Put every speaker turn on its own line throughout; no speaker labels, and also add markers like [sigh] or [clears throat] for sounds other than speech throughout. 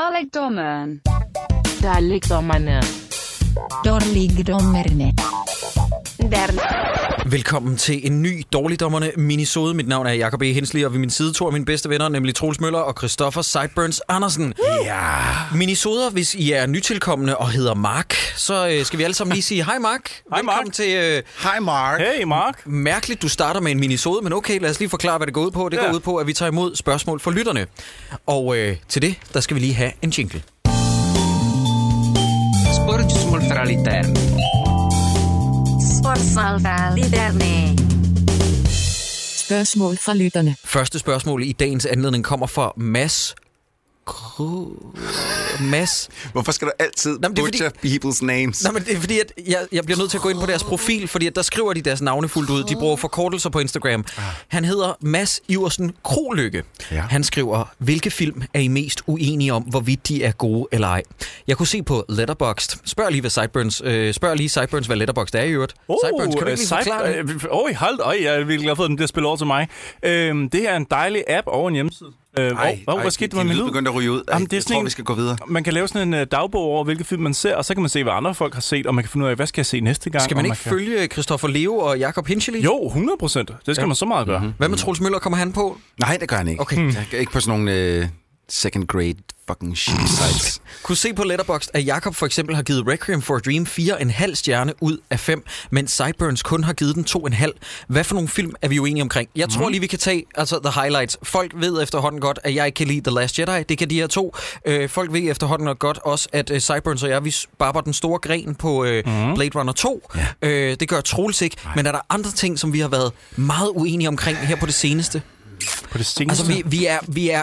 Dalekdommeren.
Der ligger dommerne.
Dårligdommerne.
Velkommen til en ny Dårligdommerne minisode. Mit navn er Jakob E. Hensley, og ved min side to af mine bedste venner, nemlig Troels Møller og Christoffer Sideburns Andersen. Ja. Minisoder, hvis I er nytilkommende og hedder Mark, så øh, skal vi alle sammen lige sige hej Mark.
Hej, Mark.
Velkommen til... Øh,
Hej Mark. Hey Mark.
Mm. Mærkeligt, du starter med en minisode, men okay, lad os lige forklare, hvad det går ud på. Det ja. går
Ja.
ud på, at vi tager imod spørgsmål fra lytterne. Og øh, til det, der skal vi lige have en jingle.
Sportsmål fra Litern.
Spørgsmål fra lytterne.
Første spørgsmål i dagens anledning kommer fra Mads... Kro... Mads...
Hvorfor skal du altid
Nå, men
Jamen,
det er
butcher fordi... people's names?
Nej, men det er fordi, at jeg, jeg bliver nødt til at gå ind på deres profil, fordi at der skriver de deres navne fuldt ud. De bruger forkortelser på Instagram.
Ah.
Han hedder Mads Iversen Krolykke. Ja.
Ja.
Han skriver, hvilke film er I mest uenige om, hvorvidt de er gode eller ej? Jeg kunne se på Letterboxd. Spørg lige, hvad Sideburns, øh, spørg lige Sideburns, hvad Letterboxd er i øvrigt. Sideburns, kan du
øh,
ikke lige
Cyber-
forklare det?
øh, Oj, hold da. Oj, jeg er virkelig glad for, at den bliver spillet over til mig. Øhm, det her er en dejlig app over en hjemmeside. Øh, ej, ej, hvad skete der med min lyd?
begyndte at ryge ud. Ej,
Jamen, det er
jeg
sådan
tror,
en-
vi skal gå videre.
Man kan lave sådan en uh, dagbog over, hvilke film man ser, og så kan man se, hvad andre folk har set, og man kan finde ud af, hvad skal jeg se næste gang.
Skal man
og
ikke
kan...
følge Christoffer Leo og Jakob Hinchely?
oh Jo, 100 procent. Det skal ja. man så meget gøre. Mm-hmm.
Hvad med Troels Møller kommer han på?
Nej, det gør han ikke.
Okay.
Jeg er ikke på sådan nogle øh, second grade fucking
Mm.
shit sites.
Kunne se på Letterboxd, at Jakob for eksempel har givet Requiem for a Dream 4,5 stjerne ud af 5, mens Sideburns kun har givet den 2,5. Hvad for nogle film er vi jo enige omkring? Jeg tror lige, vi kan tage altså, the highlights. Folk ved efterhånden godt, at jeg ikke kan lide The Last Jedi. Det kan de her to. Øh, folk ved efterhånden godt også, at øh, Sideburns og jeg, vi barber den store gren på øh, mm. Blade Runner 2. Ja. Øh, det gør Troels ikke. Men er der andre ting, som vi har været meget uenige omkring her på det seneste?
På det seneste.
Altså, vi, vi, er, vi er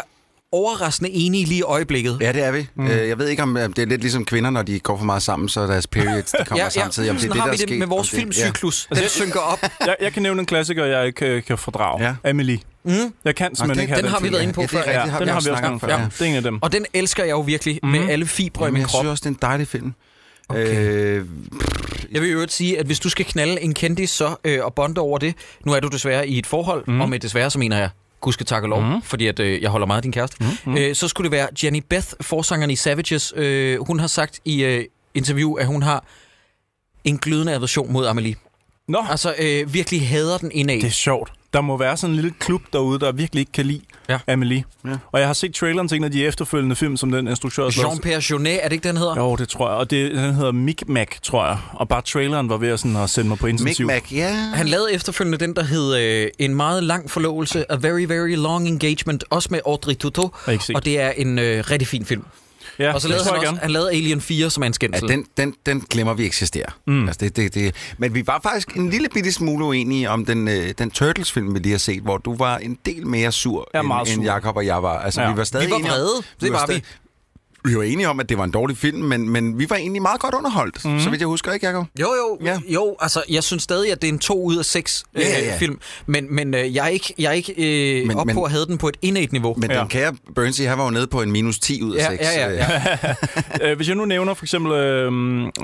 overraskende enige lige i øjeblikket.
Ja, det er vi. Mm. Øh, jeg ved ikke, om øh, det er lidt ligesom kvinder, når de går for meget sammen, så deres periods de [laughs] kommer samtidig. Om det er
sådan
det,
har
der
vi
er
det
sket,
med vores
om det-
filmcyklus. Ja. Den synker
[laughs]
op.
jeg, jeg kan nævne en klassiker, jeg ikke øh, kan fordrage.
Ja.
Amelie. Mm. Jeg kan simpelthen ikke
det-
Mhm.
have
Ah, den har vi
film.
været inde på
Ja, det
før.
er rigtigt.
Ja,
det har
den
vi
har
også
vi også
snakket
snakket
om
før.
før,
Ja.
ja.
Det er en af dem.
Og den elsker jeg jo virkelig mm. med alle fibre i
Mhm. Jamen,
min
jeg
krop.
synes også, det er en dejlig film.
Okay.
Øh,
Jeg vil jo øvrigt sige, at hvis du skal knalde en kendis så øh, og bonde over det, nu er du desværre i et forhold,
Mhm.
mm. og med desværre så mener jeg, gudske tak og lov, mm. fordi at, øh, jeg holder meget af din kæreste,
Mhm,
mm. øh, så skulle det være Jenny Beth, forsangeren i Savages. Øh, hun har sagt i øh, interview, at hun har en glødende aversion mod Amelie.
Nå,
Altså øh, virkelig hader den indad.
det er sjovt. Der må være sådan en lille klub derude, der virkelig ikke kan lide
Ja.
ja. Amelie.
Ja.
Ja. Og jeg har set traileren til en af de efterfølgende film, som den instruktør har lavet.
Jean-Pierre Jeunet, er det ikke, den hedder?
Jo, det tror jeg. Og det, den hedder Micmac, tror jeg. Og bare traileren var ved at, sådan, at sende mig på intensiv.
Mac, ja.
Han lavede efterfølgende den, der hed øh, En meget lang forlovelse, A Very Very Long Engagement, også med Audrey Tautou,
Og ikke set.
og det er en øh, rigtig fin film.
Ja,
og så
det
lavede
tror
han,
jeg
også,
gerne.
han lavede Alien 4, som er en
Ja,
skændsel.
den, den, den glemmer vi eksisterer. Mm. Altså, det, det, det. Men vi var faktisk en lille bitte smule uenige om den, øh, den Turtles-film, vi lige har set, hvor du var en del mere sur,
Jeg er
end,
meget
end
sur.
Jacob og jeg var. Altså,
Ja.
vi var stadig
Vi var
enige om-
vrede. Det var vi.
stadig- Vi var enige om, at det var en dårlig film, men, men vi var egentlig meget godt underholdt,
Mhm.
mm. så vidt jeg husker, ikke, Jacob?
Jo, jo, ja.
Ja.
jo, altså jeg synes stadig, at det er en 2 ud af 6 øh,
Ja, ja, ja.
film, men, men øh, jeg er ikke, jeg er ikke øh,
Men-
op
men-
på at have den på et indet niveau.
Men ja. den kære Bernsey, han var jo nede på en minus 10 ud af
ja,
6.
ja, ja, ja.
Øh, hvis jeg nu nævner for eksempel, øh,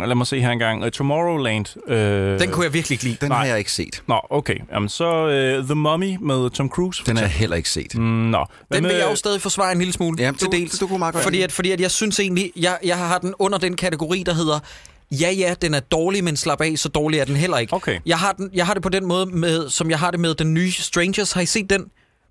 lad mig se her engang, uh, Tomorrowland. Øh,
Den kunne jeg virkelig ikke lide.
Den har jeg ikke set.
Nå, okay. Jamen, så øh, The Mummy med Tom Cruise. for
Den har jeg
eksempel.
heller ikke set. Mm.
Mm, Nå. Hvad
Den vil
med-
jeg jo stadig forsvare en lille smule
Ja,
til
du-
dels.
du kunne meget godt
fordi,
lide
at, fordi at jeg synes egentlig, jeg, jeg har den under den kategori, der hedder, ja ja, den er dårlig, men slap af, så dårlig er den heller ikke.
Okay.
Jeg, har den, jeg har det på den måde, med, som jeg har det med den nye Strangers. Har I set den?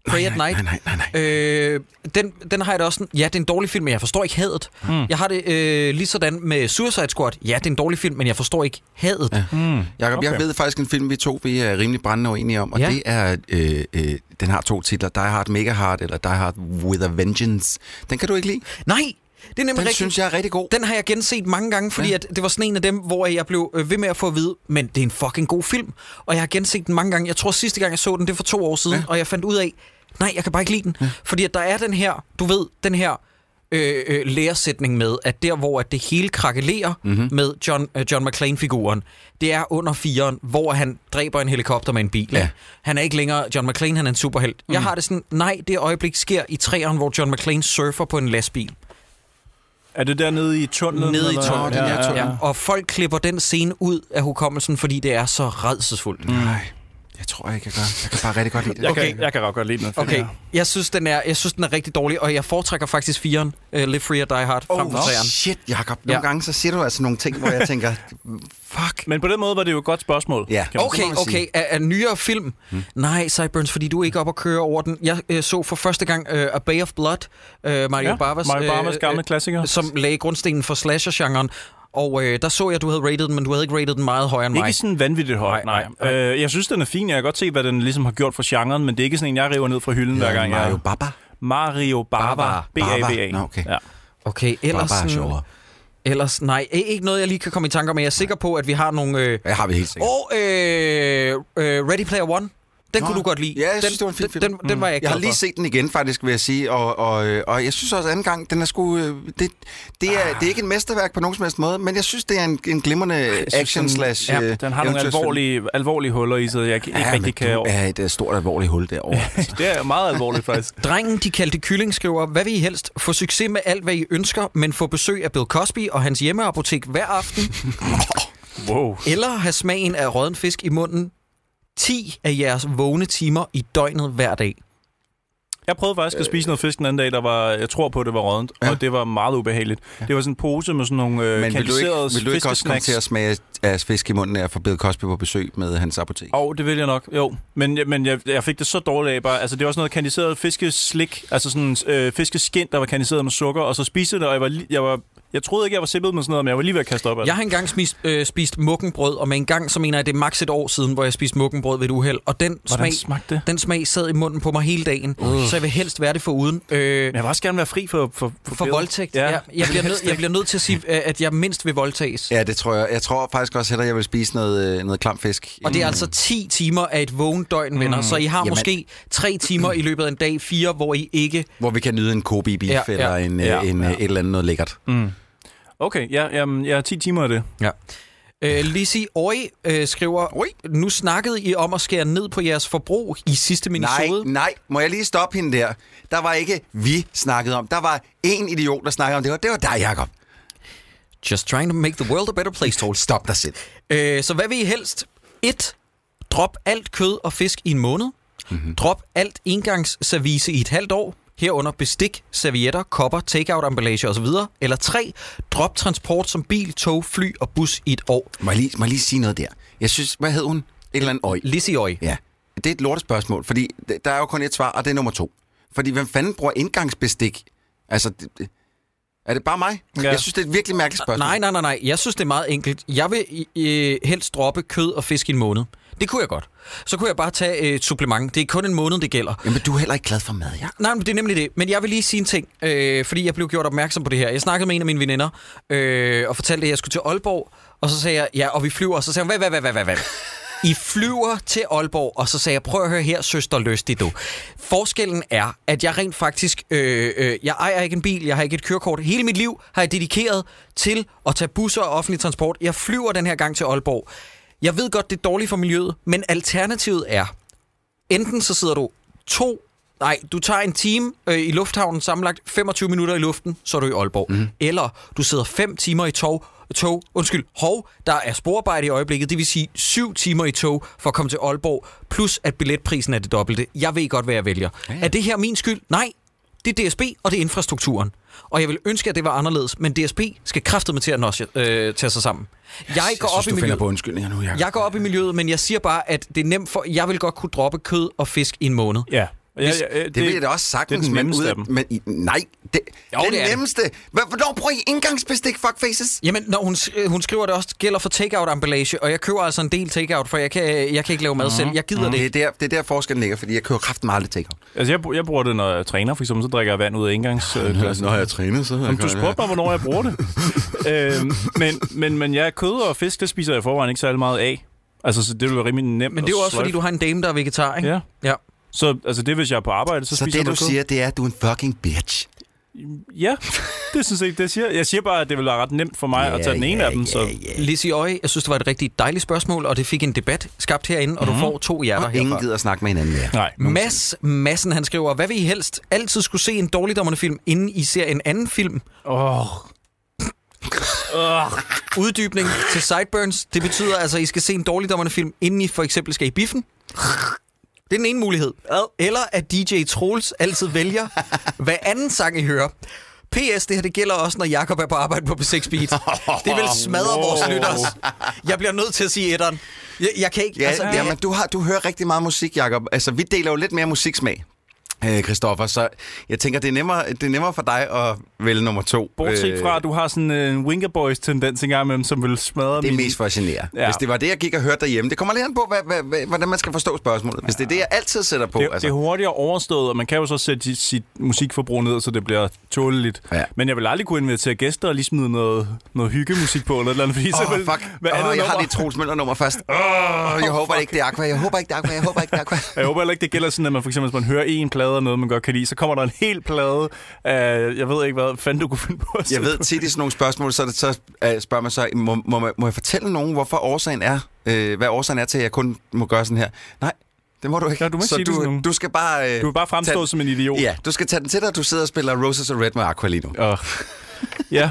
Pray at Night.
Nej, nej, nej, nej.
Øh, den, den har jeg da også sådan, ja, det er en dårlig film, men jeg forstår ikke hadet.
Hmm.
Mm. Jeg har det øh, lige sådan med Suicide Squad. Ja, det er en dårlig film, men jeg forstår ikke hadet. Ja.
Jakob, okay. jeg
Okay.
ved faktisk en film, vi to vi er rimelig brændende uenige om, og
Ja.
ja. det er, øh, øh, den har to titler, Die Hard Mega Hard eller Die Hard With a Vengeance. Den kan du ikke lide?
Nej, det er nemlig
Den
rigtigt.
synes jeg er rigtig god.
Den har jeg genset mange gange, fordi ja.
Ja.
at det var sådan en af dem, hvor jeg blev øh, ved med at få at vide, men det er en fucking god film. Og jeg har genset den mange gange. Jeg tror sidste gang, jeg så den, det var to år siden, ja. og jeg fandt ud af, nej, jeg kan bare ikke lide den. Ja. Fordi at der er den her, du ved, den her øh, øh, læresætning med, at der, hvor at det hele krakelerer mm-hmm. med John, øh, John McClane-figuren, det er under firen, hvor han dræber en helikopter med en bil.
Ja.
Han er ikke længere John McClane, han er en superhelt. Mm. Jeg har det sådan, nej, det øjeblik sker i træerne, hvor John McClane surfer på en lastbil.
Er det dernede i tunnelen?
Nede i
eller?
tunnelen,
den der
ja, ja,
Øhm,
tunnel.
ja.
Ja, og folk klipper den scene ud af hukommelsen, fordi det er så redselsfuldt. Mm.
Nej. Jeg tror ikke, jeg gør. Jeg kan bare rigtig godt lide det.
Jeg,
Okay.
okay. kan, jeg kan godt godt lide den.
Okay, jeg synes, den er, jeg synes, den er rigtig dårlig, og jeg foretrækker faktisk firen, uh, Live Free or Die Hard, oh, frem for
Oh,
træeren.
shit, Jacob. Nogle
Ja.
ja. gange så siger du altså nogle ting, hvor jeg tænker, fuck.
Men på den måde var det jo et godt spørgsmål.
Ja.
kan man sige.
Okay,
må man
okay.
sige.
Er, er nyere film? Hmm. Nej, Cyburns, fordi du er ikke op at køre over den. Jeg øh, så for første gang øh, A Bay of Blood, øh, Mario
Ja,
Barbas,
Mario Barbas gamle
øh,
klassiker.
som lagde grundstenen for slasher-genren. Og øh, der så jeg, at du havde rated den, men du havde ikke rated den meget højere end mig.
Ikke sådan vanvittigt højt,
Nej,
nej. nej, Øh, jeg synes, den er fin. Jeg kan godt se, hvad den ligesom har gjort for genren, men det er ikke sådan en, jeg river ned fra hylden ja, hver gang.
Mario
jeg...
Baba.
Mario Bava.
Bava.
B-A-V-A.
Nå, okay.
Ja.
Okay,
Baba
ellers... øh,
er
sådan-
sjovere.
Ellers, nej, i- ikke noget, jeg lige kan komme i tanke om, men jeg er sikker på, at vi har nogle... Øh...
Det har vi helt sikkert.
Og øh, øh, Ready Player One, den
Nå,
kunne du godt lide.
ja, jeg
den,
synes, det var en fin
den,
film. Mm.
Den, den var jeg ikke
Jeg har
glad
lige
for.
set den igen, faktisk, vil jeg sige. Og, og, øh, og jeg synes også, anden gang, den er sgu... øh, Det, det, er, det er ikke en mesterværk på nogen som helst måde, men jeg synes, det er en, en glimrende
synes,
action slash...
Ja,
øh,
den har nogle
eventyrsfilm.
alvorlige, alvorlige huller i sig, jeg ikke
Ja,
ja,
men
rigtig kan...
du er et øh, stort alvorligt hul derovre.
[laughs]
Altså,
Det er meget alvorligt, faktisk.
Drengen, de kaldte kylling, skriver, hvad vil I helst? Få succes med alt, hvad I ønsker, men få besøg af Bill Cosby og hans hjemmeapotek hver aften,
Wow.
eller have smagen af rådden fisk i munden 10 af jeres vågne timer i døgnet hver dag.
Jeg prøvede faktisk at spise noget fisk den anden dag, der var, jeg tror på, det var rådent, ja. og det var meget ubehageligt. Ja. Det var sådan en pose med sådan nogle øh,
Men vil du,
kandiserede
ikke, vil du ikke også komme
fiskesnacks.
til at smage af fisk i munden af at få Bill Cosby på besøg med hans apotek?
Åh, oh, det vil jeg nok, jo. Men, jeg- men jeg, jeg fik det så dårligt af bare. Altså, det var sådan noget kandiseret fiskeslik, altså sådan øh, fiskeskind, der var kandiseret med sukker, og så spiste jeg det, og jeg var, li- jeg var jeg troede ikke, jeg var sippet med sådan noget, men jeg var lige ved at kaste op af det.
Jeg har engang spist, øh, spist mukkenbrød, og med en gang, så mener jeg, det er maks et år siden, hvor jeg spiste mukkenbrød ved et uheld, og den smag,
Hvordan smagte det?
den smag sad i munden på mig hele dagen, uh. så jeg vil helst være det for uden. Øh,
Men jeg vil også gerne være fri for... For, for,
for
billeder.
voldtægt. Ja.
Ja.
Jeg, jeg, bliver nød, jeg bliver nødt til at sige, øh, at jeg mindst vil voldtages.
Ja, det tror jeg. Jeg tror faktisk også hellere, jeg vil spise noget, øh, noget klam fisk.
Og det er altså 10 timer af et vågent døgn, venner. Så I har
Jamen.
måske 3 timer i løbet af en dag, 4, hvor I ikke...
Hvor vi kan nyde en kobe beef
Ja,
ja,
ja.
ja. eller en, ja,
Ja,
en, ja. et eller andet noget lækkert. Mm.
Okay, ja, jamen, jeg har 10 timer af det.
Ja. Øh, Lizzie Oi øh, skriver, Oi. nu snakkede I om at skære ned på jeres forbrug i sidste
Nej,
minisode.
nej. Må jeg lige stoppe hende der? Der var ikke vi snakkede om. Der var en idiot, der snakkede om det. Og det var dig, Jacob.
Just trying to make the world a better place, Troels.
Stop dig selv.
Øh, så hvad vil I helst? 1. Drop alt kød og fisk i en måned.
Mhm.
Mm-hmm. Drop alt engangsservice i et halvt år. Herunder bestik, servietter, kopper, takeout-emballage osv. Eller 3. Drop transport som bil, tog, fly og bus i et år.
Må jeg lige, må jeg lige sige noget der? Jeg synes, hvad hed hun? Et eller andet øj.
Lizzie Oi.
Ja. Det er et lortespørgsmål, fordi d- der er jo kun et svar, og det er nummer to. Fordi hvem fanden bruger indgangsbestik? Altså, det, det, er det bare mig?
Ja.
Ja. Jeg synes, det er et virkelig mærkeligt spørgsmål.
Nej, nej, nej, nej. Jeg synes, det er meget enkelt. Jeg vil øh, helst droppe kød og fisk i en måned. Det kunne jeg godt. Så kunne jeg bare tage øh, et supplement. Det er kun en måned, det gælder.
Jamen, du er heller ikke glad for mad, Jacob.
Nej, men det er nemlig det. Men jeg vil lige sige en ting, øh, fordi jeg blev gjort opmærksom på det her. Jeg snakkede med en af mine veninder øh, og fortalte, at jeg skulle til Aalborg. Og så sagde jeg, ja, og vi flyver. Og så sagde hun, hvad, hvad, hvad, hvad, hvad? I flyver til Aalborg, og så sagde jeg, prøv at høre her, søster Løstig, du. Forskellen er, at jeg rent faktisk, øh, øh, jeg ejer ikke en bil, jeg har ikke et kørekort. Hele mit liv har jeg dedikeret til at tage busser og offentlig transport. Jeg flyver den her gang til Aalborg. Jeg ved godt, det er dårligt for miljøet, men alternativet er, enten så sidder du to Nej, du tager en time øh, i lufthavnen, sammenlagt 25 minutter i luften, så er du i Aalborg. Mm. Eller du sidder 5 timer i tog, tog, undskyld, hov, der er sporarbejde i øjeblikket, det vil sige 7 timer i tog for at komme til Aalborg, plus at billetprisen er det dobbelte. Jeg ved godt, hvad jeg vælger. Ja. Er det her min skyld? Nej, det er DSB, og det er infrastrukturen. Og jeg vil ønske, at det var anderledes, men DSB skal kraftedeme til at nosje, øh, tage sig sammen. Jeg, jeg går op
synes,
i
du finder
miljøet.
på undskyldninger nu, Jacob.
Jeg går op i miljøet, men jeg siger bare, at det er nemt for... Jeg vil godt kunne droppe kød og fisk i en måned.
Ja. ja,
Hvis-
ja øh,
det, det vil jeg da også sagtens,
det er den
men,
nemmeste
ud,
af dem.
men i- nej, det, jo,
det
den
er
det
det.
nemmeste. Hva- Hvornår bruger I indgangsbestik, fuckfaces?
Jamen, når hun, sk- øh, hun skriver, at det også gælder for takeout-emballage, og jeg køber altså en del takeout, for jeg kan, jeg kan ikke lave mad selv. Jeg gider
Det er
det.
der, det er der forskellen ligger, fordi jeg kører kraften meget lidt take-out.
Altså, jeg, br- jeg bruger det, når jeg træner, for eksempel, så drikker jeg vand ud af indgangsglasset.
altså, når jeg træner, så...
Jamen, du spurgte mig, hvornår jeg bruger det. øhm, men, men, men ja, kød og fisk, det spiser jeg i forvejen ikke særlig meget af. Altså, så det vil være rimelig nemt.
Men det er jo også, fordi du har en dame, der er vegetar, ikke?
Ja.
ja.
Så altså, det er, hvis jeg er på arbejde, så,
Så
spiser
det,
jeg
du
noget kød.
siger, det er, at du er en fucking bitch.
Ja, det synes jeg ikke, det jeg siger. Jeg siger bare, at det vil være ret nemt for mig ja, at tage den ene ja, af dem. så.
ja.
Lizzie Øje, jeg synes, det var et rigtig dejligt spørgsmål, og det fik en debat skabt herinde, og du får to hjerter
Mm. Og ingen
herfra.
gider at snakke med hinanden mere.
Nej,
Mads Massen, han skriver, hvad vil I helst? Altid skulle se en dårligdommerne film, inden I ser en anden film.
Åh.
Uddybning til Sideburns. Det betyder altså, at I skal se en dårligdommerne film, inden I for eksempel skal i biffen. Det er den ene mulighed. Eller at DJ Troels altid vælger, hvad anden sang I hører. P.S. Det her det gælder også, når Jakob er på arbejde på B6 [laughs] Beat. Det vil smadre wow. vores
Wow.
lytteres. Jeg bliver nødt til at sige etteren. Jeg, jeg kan ikke.
Ja,
altså, det,
jamen, du, har, du hører rigtig meget musik, Jacob. Altså, vi deler jo lidt mere musiksmag. øh, Christoffer, så jeg tænker, det er nemmere, det er nemmere for dig at vælge nummer to.
Bortset
Øh,
fra, at du har sådan øh, en Winger Boys-tendens engang imellem, som vil smadre
Det er
min-
mest for at genere. Ja.
Ja.
Hvis det var det, jeg gik og hørte derhjemme. Det kommer lidt an på, hvad, hvad, hvad, hvordan man skal forstå spørgsmålet. Hvis det er det, jeg altid sætter på.
Det, altså. det er hurtigere overstået, og man kan jo så sætte sit, sit musikforbrug ned, så det bliver tåleligt.
Ja.
Men jeg vil aldrig kunne invitere gæster og lige smide noget, noget hyggemusik på, eller et eller andet, fordi så
Åh,
vil,
oh, fuck. Åh, oh, jeg har lige Troels Møller nummer først. Åh, oh, jeg håber ikke, det er Aqua. Jeg håber ikke, det er Aqua. Jeg håber ikke, det er Aqua.
Jeg håber heller ikke, det gælder sådan, at man for eksempel, hvis man hører en plade af noget, man godt kan lide, så kommer der en hel plade af, jeg ved ikke, hvad fanden du kunne finde på. at
[laughs] Jeg
sætte
ved
på.
tit i sådan nogle spørgsmål, så, er det, så øh, spørger man så, må, må, man- må jeg fortælle nogen, hvorfor årsagen er, øh, hvad årsagen er til, at jeg kun må gøre sådan her? Nej, det må du ikke.
Nå, du må ikke
så
sige det til
du,
nogen.
du skal bare... Øh,
Du vil bare fremstå
tage-
som en idiot.
Ja, du skal tage den til dig, at du sidder og spiller Roses og Red med Aqua lige nu.
Og, ja.